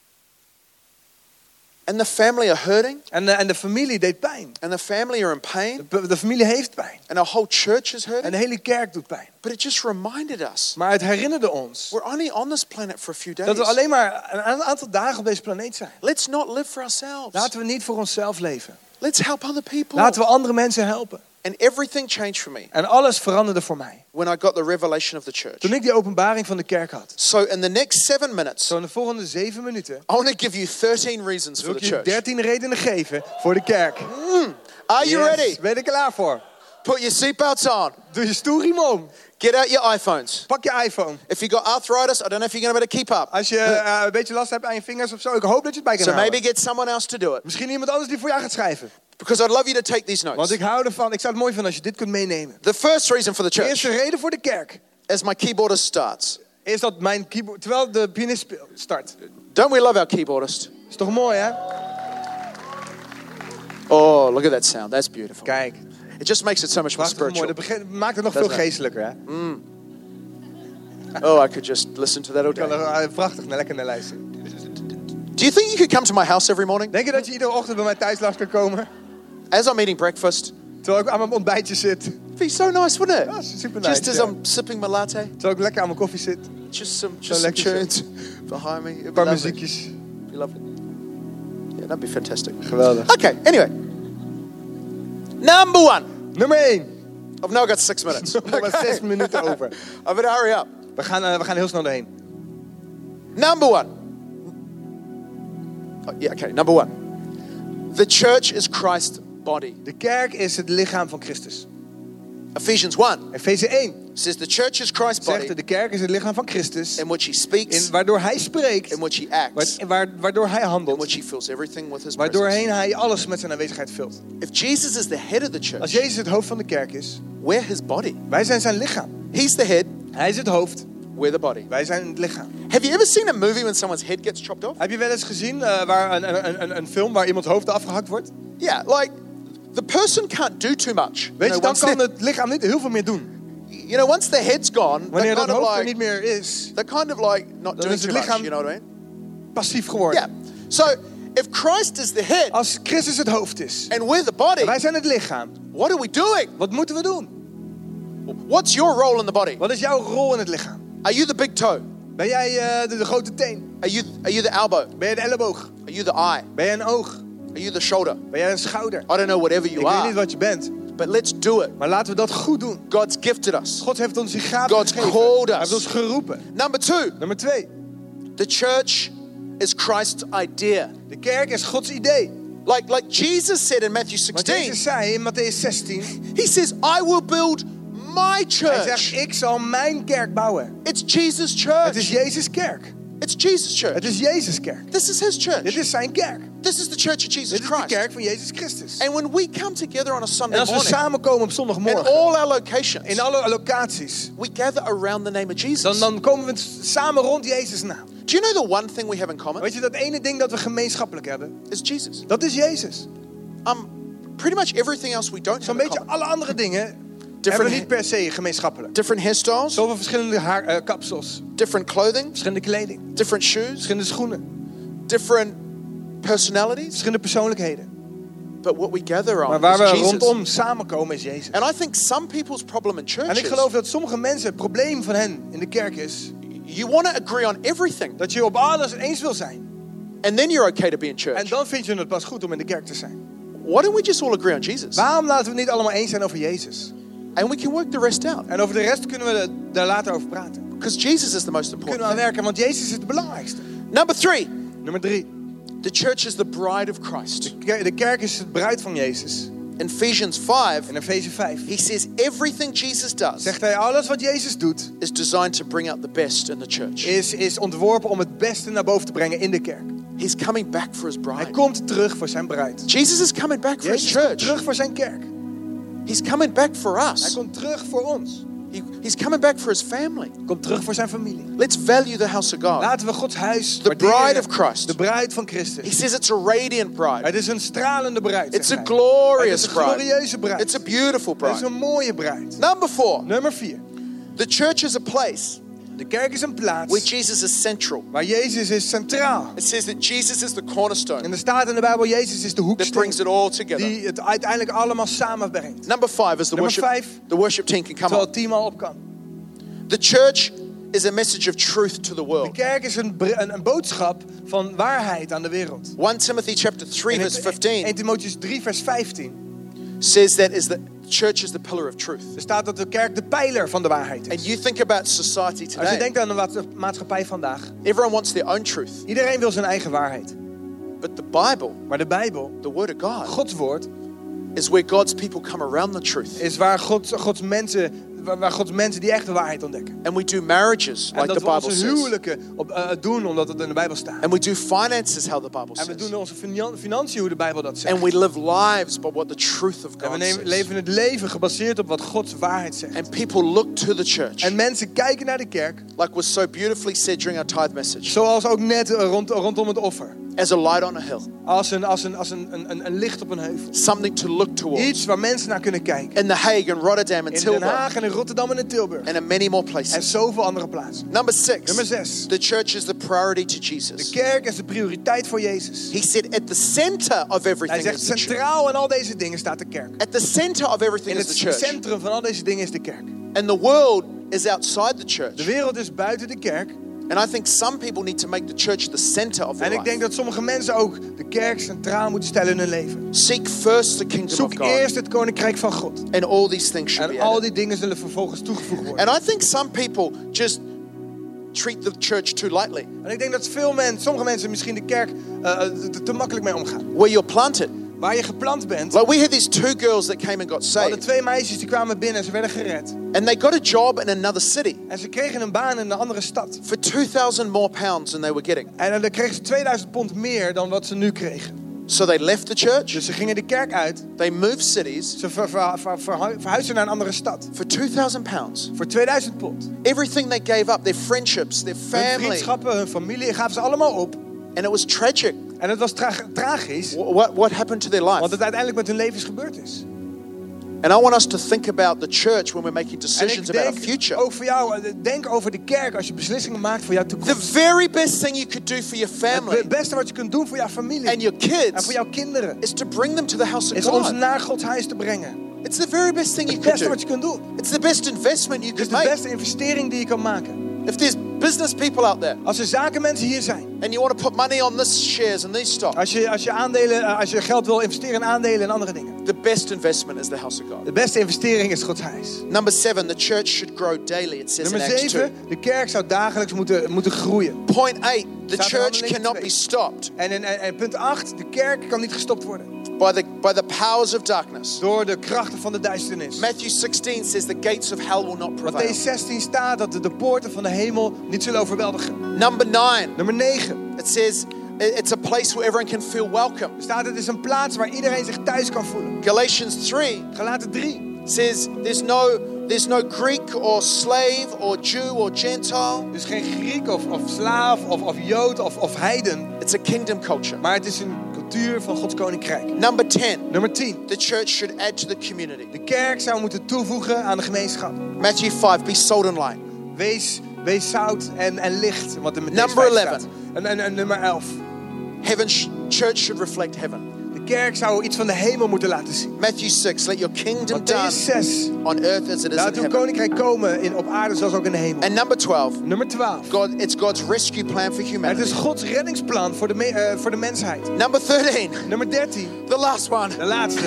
Speaker 2: And the family are hurting
Speaker 1: En, eh, en de familie deed pijn.
Speaker 2: and the family are in
Speaker 1: De,
Speaker 2: pain
Speaker 1: de familie heeft pijn.
Speaker 2: and our whole church is
Speaker 1: En
Speaker 2: hurting.
Speaker 1: de hele kerk doet pijn.
Speaker 2: But it just reminded us
Speaker 1: Maar het herinnerde ons
Speaker 2: we're only on this planet for a few days.
Speaker 1: dat we alleen maar een a- aantal dagen op deze planeet zijn.
Speaker 2: Let's not live for ourselves.
Speaker 1: Laten we niet voor onszelf leven.
Speaker 2: Let's help other people.
Speaker 1: Laten we andere mensen helpen.
Speaker 2: And everything changed for me
Speaker 1: En alles veranderde voor mij.
Speaker 2: when I got the revelation of the church.
Speaker 1: Toen ik die openbaring van de kerk had.
Speaker 2: So, in the next seven minutes,
Speaker 1: Zo in de volgende zeven minuten
Speaker 2: I want to give you 13 reasons for
Speaker 1: wil
Speaker 2: the
Speaker 1: ik je
Speaker 2: church.
Speaker 1: 13 redenen geven voor de kerk.
Speaker 2: Are you
Speaker 1: Yes,
Speaker 2: ready?
Speaker 1: Ben je er klaar voor?
Speaker 2: Put your seatbelts on.
Speaker 1: Doe je stoerriem om.
Speaker 2: Get out your iPhones.
Speaker 1: Pak je iPhone.
Speaker 2: If you got arthritis, I don't know if you're going to be able to keep up.
Speaker 1: Als je eh, een beetje last hebt aan je vingers of zo, ik hoop dat je het bij kan
Speaker 2: So
Speaker 1: houden.
Speaker 2: maybe get someone else to do it.
Speaker 1: Misschien iemand anders die voor jou gaat schrijven.
Speaker 2: Because I'd love you to take these
Speaker 1: Want
Speaker 2: notes.
Speaker 1: ik hou ervan, ik zou het mooi vinden als je dit kunt meenemen.
Speaker 2: The first reason for the
Speaker 1: De
Speaker 2: church,
Speaker 1: eerste reden voor de kerk
Speaker 2: as my keyboardist starts,
Speaker 1: is dat mijn keyboard, terwijl de pianist speelt- start.
Speaker 2: don't we love our keyboardist?
Speaker 1: Is toch mooi hè?
Speaker 2: Oh, look at that sound. That's beautiful.
Speaker 1: Kijk,
Speaker 2: It just makes it so much more
Speaker 1: prachtig mooi.
Speaker 2: spiritual.
Speaker 1: Dat begint- maakt het nog
Speaker 2: Dat is
Speaker 1: veel
Speaker 2: waar.
Speaker 1: geestelijker hè?
Speaker 2: Oh, I could just listen to that all
Speaker 1: Ik kan
Speaker 2: day.
Speaker 1: er eh, prachtig naar lekker naar luisteren.
Speaker 2: Do you think you could come to my house every morning?
Speaker 1: Denk je dat je iedere ochtend bij mij thuis langs kan komen?
Speaker 2: As I'm eating breakfast,
Speaker 1: Terwijl ik aan mijn ontbijtje zit.
Speaker 2: it'd be so nice, wouldn't
Speaker 1: Ja,
Speaker 2: it?
Speaker 1: super nice.
Speaker 2: Just as
Speaker 1: ja.
Speaker 2: I'm sipping my latte,
Speaker 1: Terwijl ik lekker aan mijn koffie zit. Een
Speaker 2: just some, just some
Speaker 1: lekker zo.
Speaker 2: tunes behind me. It'd be
Speaker 1: paar
Speaker 2: lovely.
Speaker 1: muziekjes.
Speaker 2: It'd be lovely. Yeah, that'd be fantastic.
Speaker 1: Geweldig.
Speaker 2: Okay, anyway. Number one.
Speaker 1: Nummer 1.
Speaker 2: I've now got six minutes.
Speaker 1: Nog maar
Speaker 2: Okay.
Speaker 1: zes minuten over.
Speaker 2: I better hurry up.
Speaker 1: We gaan, eh, we gaan heel snel doorheen.
Speaker 2: Number one. Oh, yeah, okay, number one. The church is Christ's body.
Speaker 1: De kerk is het lichaam van Christus.
Speaker 2: Ephesians 1
Speaker 1: Efeze 1
Speaker 2: says the church is Christ's body
Speaker 1: zegt de kerk is het lichaam van Christus.
Speaker 2: in which he speaks,
Speaker 1: In, waardoor hij spreekt.
Speaker 2: in which he
Speaker 1: Waar-
Speaker 2: acts,
Speaker 1: waar- waardoor hij
Speaker 2: in which
Speaker 1: handelt.
Speaker 2: he fills everything with his presence.
Speaker 1: Waardoorheen hij alles met zijn aanwezigheid vult.
Speaker 2: If Jesus is the head of the
Speaker 1: Als
Speaker 2: church,
Speaker 1: Jezus het hoofd van de kerk is,
Speaker 2: we're his body.
Speaker 1: wij zijn zijn lichaam.
Speaker 2: He's the head,
Speaker 1: Hij is het hoofd,
Speaker 2: we're the body.
Speaker 1: wij zijn het lichaam.
Speaker 2: Have you ever seen a movie when someone's head gets chopped off?
Speaker 1: Heb je wel eens gezien eh, waar een, een, een, een film waar iemands hoofd afgehakt wordt?
Speaker 2: Yeah, like the person can't do too much. You
Speaker 1: Weet
Speaker 2: know,
Speaker 1: je, dan
Speaker 2: once,
Speaker 1: kan
Speaker 2: their-
Speaker 1: het lichaam niet heel veel meer doen.
Speaker 2: you know, once the head's gone,
Speaker 1: Wanneer
Speaker 2: they're
Speaker 1: dat
Speaker 2: kind of
Speaker 1: hoofd er
Speaker 2: like
Speaker 1: niet meer is,
Speaker 2: they're kind of like not
Speaker 1: Dan
Speaker 2: doing
Speaker 1: is het
Speaker 2: too much.
Speaker 1: lichaam-
Speaker 2: You know what I mean?
Speaker 1: passief geworden.
Speaker 2: Yeah. So if Christ is the head
Speaker 1: Als Christus het hoofd is,
Speaker 2: and we're the body,
Speaker 1: en wij zijn het lichaam,
Speaker 2: what are we doing?
Speaker 1: wat moeten we doen?
Speaker 2: What's your role in the body?
Speaker 1: Wat is jouw rol in het lichaam?
Speaker 2: Are you the big toe?
Speaker 1: Ben jij eh, de, de grote teen?
Speaker 2: Are you are you the elbow?
Speaker 1: Ben jij de elleboog?
Speaker 2: Are you the eye?
Speaker 1: Ben jij een oog?
Speaker 2: Are you the shoulder?
Speaker 1: Ben jij een schouder?
Speaker 2: I don't know whatever you
Speaker 1: Ik weet niet
Speaker 2: are,
Speaker 1: wat je bent,
Speaker 2: but let's do it.
Speaker 1: maar laten we dat goed doen.
Speaker 2: God's gifted us.
Speaker 1: God heeft ons die gaven
Speaker 2: God's
Speaker 1: gegeven.
Speaker 2: called us.
Speaker 1: Hij heeft ons geroepen.
Speaker 2: Number two,
Speaker 1: Nummer twee,
Speaker 2: the church is Christ's idea.
Speaker 1: de kerk is Gods idee.
Speaker 2: Like like Jesus said in Matthew
Speaker 1: Wat
Speaker 2: 16,
Speaker 1: Jezus zei in Matthäus 16,
Speaker 2: he says, "I will build my
Speaker 1: hij zegt,
Speaker 2: church."
Speaker 1: ik zal mijn kerk bouwen.
Speaker 2: It's Jesus'
Speaker 1: Het is
Speaker 2: church.
Speaker 1: Jezus' kerk.
Speaker 2: It's Jesus'
Speaker 1: Het
Speaker 2: church.
Speaker 1: is Jezus' kerk.
Speaker 2: This is his
Speaker 1: Dit
Speaker 2: church.
Speaker 1: is zijn kerk.
Speaker 2: This is the church of Jesus
Speaker 1: Dit is de
Speaker 2: Christ.
Speaker 1: kerk van Jezus Christus.
Speaker 2: And when we come together on a
Speaker 1: En
Speaker 2: Sunday
Speaker 1: als we
Speaker 2: morning,
Speaker 1: samenkomen op
Speaker 2: in
Speaker 1: zondagmorgen,
Speaker 2: all our locations,
Speaker 1: in alle locaties,
Speaker 2: we gather around the name of
Speaker 1: dan,
Speaker 2: Jesus.
Speaker 1: dan komen we s- samen rond Jezus na.
Speaker 2: Do you know the one thing we have in common?
Speaker 1: Weet je, dat ene ding dat we gemeenschappelijk hebben,
Speaker 2: Is Jesus.
Speaker 1: dat is Jezus.
Speaker 2: Um, pretty much everything else we don't
Speaker 1: Zo'n
Speaker 2: have in
Speaker 1: beetje
Speaker 2: common.
Speaker 1: alle andere dingen hebben we
Speaker 2: Different-
Speaker 1: niet per se gemeenschappelijk.
Speaker 2: Different hairstyles,
Speaker 1: Zoveel verschillende haar, eh, kapsels,
Speaker 2: different clothing,
Speaker 1: verschillende kleding,
Speaker 2: different shoes,
Speaker 1: verschillende schoenen,
Speaker 2: different personalities.
Speaker 1: verschillende persoonlijkheden. Oh,
Speaker 2: But what we gather
Speaker 1: Maar
Speaker 2: on
Speaker 1: waar we
Speaker 2: is Jesus.
Speaker 1: rondom samenkomen is Jezus.
Speaker 2: And I think some people's problem in
Speaker 1: En
Speaker 2: church
Speaker 1: ik
Speaker 2: is
Speaker 1: geloof dat sommige mensen, het probleem van hen in de kerk is,
Speaker 2: you want to agree on everything,
Speaker 1: dat je op alles eens wil zijn.
Speaker 2: And then you're okay to be in
Speaker 1: En
Speaker 2: church.
Speaker 1: dan vind je het pas goed om in de kerk te zijn.
Speaker 2: Why don't we just all agree on Jesus?
Speaker 1: Waarom laten we het niet allemaal eens zijn over Jezus?
Speaker 2: And we can work the rest out.
Speaker 1: En over de rest kunnen we daar later over praten.
Speaker 2: Because Jesus is the most
Speaker 1: We kunnen we aan
Speaker 2: important thing.
Speaker 1: werken, want Jezus is het belangrijkste.
Speaker 2: Number three,
Speaker 1: Nummer drie.
Speaker 2: the church is the bride of Christ.
Speaker 1: Ke- De kerk is het bruid van Jezus.
Speaker 2: In Ephesians
Speaker 1: In
Speaker 2: 5,
Speaker 1: Efeze 5
Speaker 2: he says everything Jesus does
Speaker 1: zegt hij, alles wat Jezus doet,
Speaker 2: is designed to bring out the best in the church.
Speaker 1: is, is ontworpen om het beste naar boven te brengen in de kerk.
Speaker 2: He's coming back for his
Speaker 1: Hij
Speaker 2: bride.
Speaker 1: komt terug voor zijn bruid.
Speaker 2: Jesus is coming back for his
Speaker 1: Jezus komt
Speaker 2: church.
Speaker 1: terug voor zijn kerk.
Speaker 2: He's coming back for
Speaker 1: Hij
Speaker 2: us.
Speaker 1: komt terug voor ons.
Speaker 2: He- he's coming back for his family.
Speaker 1: Hij komt terug voor zijn familie.
Speaker 2: Let's value the house of God.
Speaker 1: Laten we Gods huis
Speaker 2: The
Speaker 1: waarderen.
Speaker 2: bride of Christ.
Speaker 1: De bruid van
Speaker 2: He
Speaker 1: Christus.
Speaker 2: says it's a radiant bride.
Speaker 1: Het is een stralende bruid.
Speaker 2: It's a
Speaker 1: zegt hij.
Speaker 2: glorious
Speaker 1: Het is een glorieuze
Speaker 2: bride.
Speaker 1: bruid.
Speaker 2: It's a beautiful
Speaker 1: Het is
Speaker 2: bride.
Speaker 1: een mooie bruid.
Speaker 2: Number four,
Speaker 1: Nummer 4.
Speaker 2: the church is a place
Speaker 1: De kerk is een
Speaker 2: where
Speaker 1: plaats
Speaker 2: Jesus is central.
Speaker 1: waar Jezus is centraal.
Speaker 2: It says that Jesus is the
Speaker 1: En
Speaker 2: cornerstone
Speaker 1: er staat in de Bijbel, Jezus is de
Speaker 2: that
Speaker 1: hoeksteen
Speaker 2: brings it all together.
Speaker 1: die het uiteindelijk allemaal samenbrengt.
Speaker 2: Number five is the
Speaker 1: Number
Speaker 2: worship.
Speaker 1: five.
Speaker 2: The worship team can come
Speaker 1: Terwijl
Speaker 2: on.
Speaker 1: het team al op kan.
Speaker 2: The church is a message of truth to the
Speaker 1: De
Speaker 2: world.
Speaker 1: kerk is een, br- een, een boodschap van waarheid aan de wereld.
Speaker 2: 1 Timothy chapter 3
Speaker 1: In
Speaker 2: verse
Speaker 1: 1
Speaker 2: 15
Speaker 1: Timotheus 3 vers 15
Speaker 2: says that is the church is the pillar of truth.
Speaker 1: er staat dat de kerk de pijler van de waarheid
Speaker 2: And
Speaker 1: is.
Speaker 2: you think about society
Speaker 1: Als je
Speaker 2: today,
Speaker 1: denkt aan de maats- maatschappij vandaag,
Speaker 2: everyone wants their own truth.
Speaker 1: iedereen wil zijn eigen waarheid.
Speaker 2: But the Bible,
Speaker 1: Maar de Bijbel,
Speaker 2: the Word of God,
Speaker 1: Gods woord,
Speaker 2: is where God's people come around the truth.
Speaker 1: is waar Gods, Gods mensen, waar, waar Gods mensen die echt de waarheid ontdekken.
Speaker 2: And we do marriages
Speaker 1: En
Speaker 2: like
Speaker 1: dat
Speaker 2: the
Speaker 1: we
Speaker 2: Bible
Speaker 1: onze
Speaker 2: says.
Speaker 1: huwelijken op, eh, doen omdat het in de Bijbel staat.
Speaker 2: And we do finances how the Bible
Speaker 1: En we doen
Speaker 2: says.
Speaker 1: onze finan- financiën hoe de Bijbel dat zegt.
Speaker 2: And we live lives by what the truth of
Speaker 1: En we
Speaker 2: God
Speaker 1: nemen,
Speaker 2: says.
Speaker 1: leven het leven gebaseerd op wat Gods waarheid zegt.
Speaker 2: And people look to the church,
Speaker 1: En mensen kijken naar de kerk,
Speaker 2: like was so beautifully said during our tithe message,
Speaker 1: zoals ook net eh, rond, rondom het offer.
Speaker 2: as a light on a hill,
Speaker 1: Als een, als een, als een, een, een, een licht op een heuvel.
Speaker 2: something to look towards.
Speaker 1: Iets waar mensen naar kunnen kijken.
Speaker 2: In The Hague and Rotterdam and
Speaker 1: In Den
Speaker 2: Tilburg
Speaker 1: Haag en in Rotterdam en in Tilburg.
Speaker 2: and in many more
Speaker 1: En
Speaker 2: places.
Speaker 1: zoveel andere plaatsen.
Speaker 2: Number six,
Speaker 1: Nummer zes.
Speaker 2: the church is the priority to
Speaker 1: De
Speaker 2: Jesus.
Speaker 1: kerk is de prioriteit voor Jezus.
Speaker 2: He said, at the center of
Speaker 1: Hij
Speaker 2: everything
Speaker 1: zegt
Speaker 2: is the church.
Speaker 1: centraal in al deze dingen staat de kerk.
Speaker 2: At the center of everything
Speaker 1: In
Speaker 2: is
Speaker 1: het
Speaker 2: the church.
Speaker 1: centrum van al deze dingen is de kerk.
Speaker 2: And the world is outside the
Speaker 1: De
Speaker 2: church.
Speaker 1: wereld is buiten de kerk.
Speaker 2: And I think some people need to make the church the center of their
Speaker 1: En ik denk
Speaker 2: life.
Speaker 1: dat sommige mensen ook de kerk centraal moeten stellen in hun leven.
Speaker 2: Seek first the kingdom of
Speaker 1: Zoek
Speaker 2: God,
Speaker 1: eerst het koninkrijk van God.
Speaker 2: and all these things should be
Speaker 1: En al
Speaker 2: added.
Speaker 1: die dingen zullen vervolgens toegevoegd worden.
Speaker 2: And I think some people just treat the church too lightly.
Speaker 1: En ik denk dat veel mensen, sommige mensen misschien de kerk eh, eh, te, te makkelijk mee omgaan.
Speaker 2: Where you're planted.
Speaker 1: Waar je geplant bent.
Speaker 2: Like we had these two girls that came and got
Speaker 1: We hadden
Speaker 2: saved,
Speaker 1: twee meisjes die kwamen binnen en ze werden gered.
Speaker 2: and they got a job in another city
Speaker 1: En ze kregen een baan in een andere stad.
Speaker 2: for 2,000 more pounds than they were getting.
Speaker 1: En eh, dan kregen ze 2000 pond meer dan wat ze nu kregen.
Speaker 2: So they left the church,
Speaker 1: Dus ze gingen de kerk uit.
Speaker 2: they moved cities
Speaker 1: Ze ver, ver, ver- verhu- verhuisden naar een andere stad.
Speaker 2: for 2,000 pounds.
Speaker 1: Voor 2000 pond. Hun
Speaker 2: Everything they gave up, their friendships, their family,
Speaker 1: vriendschappen, hun familie, gaven ze allemaal op.
Speaker 2: and it was tragic
Speaker 1: En het was tra- tragisch.
Speaker 2: wh- what, what happened to their life.
Speaker 1: Want het uiteindelijk met hun levens gebeurd is.
Speaker 2: And I want us to think about the church when we're making
Speaker 1: En
Speaker 2: decisions
Speaker 1: ik
Speaker 2: about our future.
Speaker 1: denk ook voor jou, eh, denk over de kerk als je beslissingen maakt voor jouw
Speaker 2: The
Speaker 1: toekomst.
Speaker 2: very best thing you could do for your family
Speaker 1: Het beste wat je kunt doen voor jouw familie
Speaker 2: and your
Speaker 1: en voor
Speaker 2: kids
Speaker 1: jouw kinderen
Speaker 2: is to bring them to the house of
Speaker 1: is ons
Speaker 2: God.
Speaker 1: naar Gods huis te brengen.
Speaker 2: It's the very best thing you
Speaker 1: Het
Speaker 2: could
Speaker 1: beste wat
Speaker 2: do.
Speaker 1: je kunt doen.
Speaker 2: It's the best investment you
Speaker 1: Het is
Speaker 2: could
Speaker 1: de
Speaker 2: make.
Speaker 1: beste investering die je kan maken.
Speaker 2: If there's business people out there
Speaker 1: Als er zakenmensen hier zijn,
Speaker 2: and you want to put money on this shares and these stocks,
Speaker 1: als je, als je, aandelen, eh, als je geld wil investeren in aandelen en andere dingen.
Speaker 2: the best investment is the house of God.
Speaker 1: De beste investering is Gods huis.
Speaker 2: Number seven, the church should grow daily. It says
Speaker 1: Nummer
Speaker 2: in Acts 2.
Speaker 1: 7, de kerk zou dagelijks moeten, moeten groeien.
Speaker 2: Point eight, the
Speaker 1: Staat in
Speaker 2: church
Speaker 1: Handelingen
Speaker 2: cannot
Speaker 1: 2.
Speaker 2: be stopped
Speaker 1: En, en, en, en punt 8, de kerk kan niet gestopt worden
Speaker 2: by the by the powers of darkness.
Speaker 1: door de krachten van de duisternis.
Speaker 2: Matthew 16 says the gates of hell will not prevail.
Speaker 1: Matthäus 16 staat dat de, de poorten van de hemel niet zullen overweldigen.
Speaker 2: Number nine,
Speaker 1: Nummer 9,
Speaker 2: it says it- it's a place where everyone can feel welcome.
Speaker 1: er staat het is een plaats waar iedereen zich thuis kan voelen.
Speaker 2: Galatians 3
Speaker 1: Galaten 3.
Speaker 2: says there's no there's no Greek or slave or Jew or Gentile.
Speaker 1: Dus geen Griek of, of slaaf of, of Jood of, of heiden.
Speaker 2: It's a kingdom culture.
Speaker 1: Maar het is een cultuur van Gods koninkrijk.
Speaker 2: Number 10,
Speaker 1: Nummer 10.
Speaker 2: the church should add to the community.
Speaker 1: De kerk zou moeten toevoegen aan de gemeenschap.
Speaker 2: Matthew 5, be salt and light.
Speaker 1: Wees, wees zout en, en licht. Wat er met
Speaker 2: Number 11.
Speaker 1: En, en, en nummer 11.
Speaker 2: Heaven sh- church should reflect heaven.
Speaker 1: De De kerk zou iets van de hemel moeten laten zien.
Speaker 2: Matthew 6, let your kingdom
Speaker 1: Matthäus
Speaker 2: done
Speaker 1: 6.
Speaker 2: on earth as it is
Speaker 1: Laat uw
Speaker 2: in heaven.
Speaker 1: koninkrijk komen in, op aarde zoals ook in de hemel.
Speaker 2: And number 12,
Speaker 1: Nummer 12.
Speaker 2: God, it's God's rescue plan for
Speaker 1: Het is
Speaker 2: humanity.
Speaker 1: Gods reddingsplan voor de, me- eh, voor de mensheid.
Speaker 2: Number 13,
Speaker 1: Nummer 13.
Speaker 2: the last one,
Speaker 1: De laatste.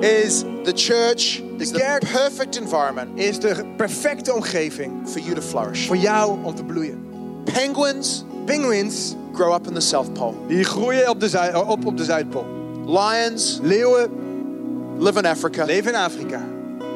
Speaker 2: is the church is the
Speaker 1: kerk-
Speaker 2: perfect environment
Speaker 1: Is de perfecte omgeving
Speaker 2: for you to flourish.
Speaker 1: voor jou om te bloeien.
Speaker 2: Penguins
Speaker 1: Penguins
Speaker 2: grow up in the South Pole.
Speaker 1: die groeien op de, Zuid- eh, op, op de Zuidpool.
Speaker 2: Lions
Speaker 1: Leeuwen
Speaker 2: live in Africa.
Speaker 1: leven in Afrika.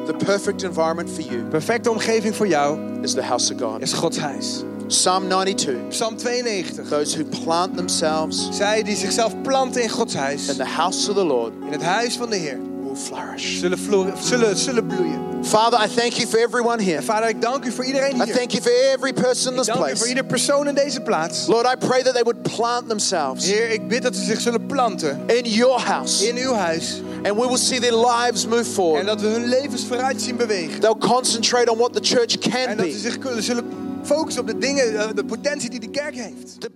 Speaker 2: The perfect environment for you
Speaker 1: Perfecte omgeving voor jou
Speaker 2: is the house of God.
Speaker 1: is Gods huis.
Speaker 2: Psalm 92,
Speaker 1: Psalm 92.
Speaker 2: those who plant themselves
Speaker 1: Zij die zichzelf planten in Gods huis,
Speaker 2: in the house of the Lord
Speaker 1: in het huis van de Heer,
Speaker 2: will flourish.
Speaker 1: zullen, vloeren- zullen, zullen bloeien.
Speaker 2: Father, I thank you for everyone here.
Speaker 1: En vader, ik dank u voor iedereen
Speaker 2: I
Speaker 1: hier.
Speaker 2: thank you for every person in
Speaker 1: Ik
Speaker 2: this
Speaker 1: dank u voor
Speaker 2: place.
Speaker 1: ieder persoon in deze plaats.
Speaker 2: Lord, I pray that they would plant themselves
Speaker 1: Heer, ik bid dat ze zich zullen planten
Speaker 2: in your house
Speaker 1: in uw huis.
Speaker 2: and we will see their lives move
Speaker 1: En
Speaker 2: forward.
Speaker 1: dat we hun levens vooruit zien bewegen.
Speaker 2: They'll concentrate on what the church
Speaker 1: En
Speaker 2: can
Speaker 1: dat ze
Speaker 2: be.
Speaker 1: zich kunnen, zullen focussen op de dingen, eh, de potentie die de kerk heeft.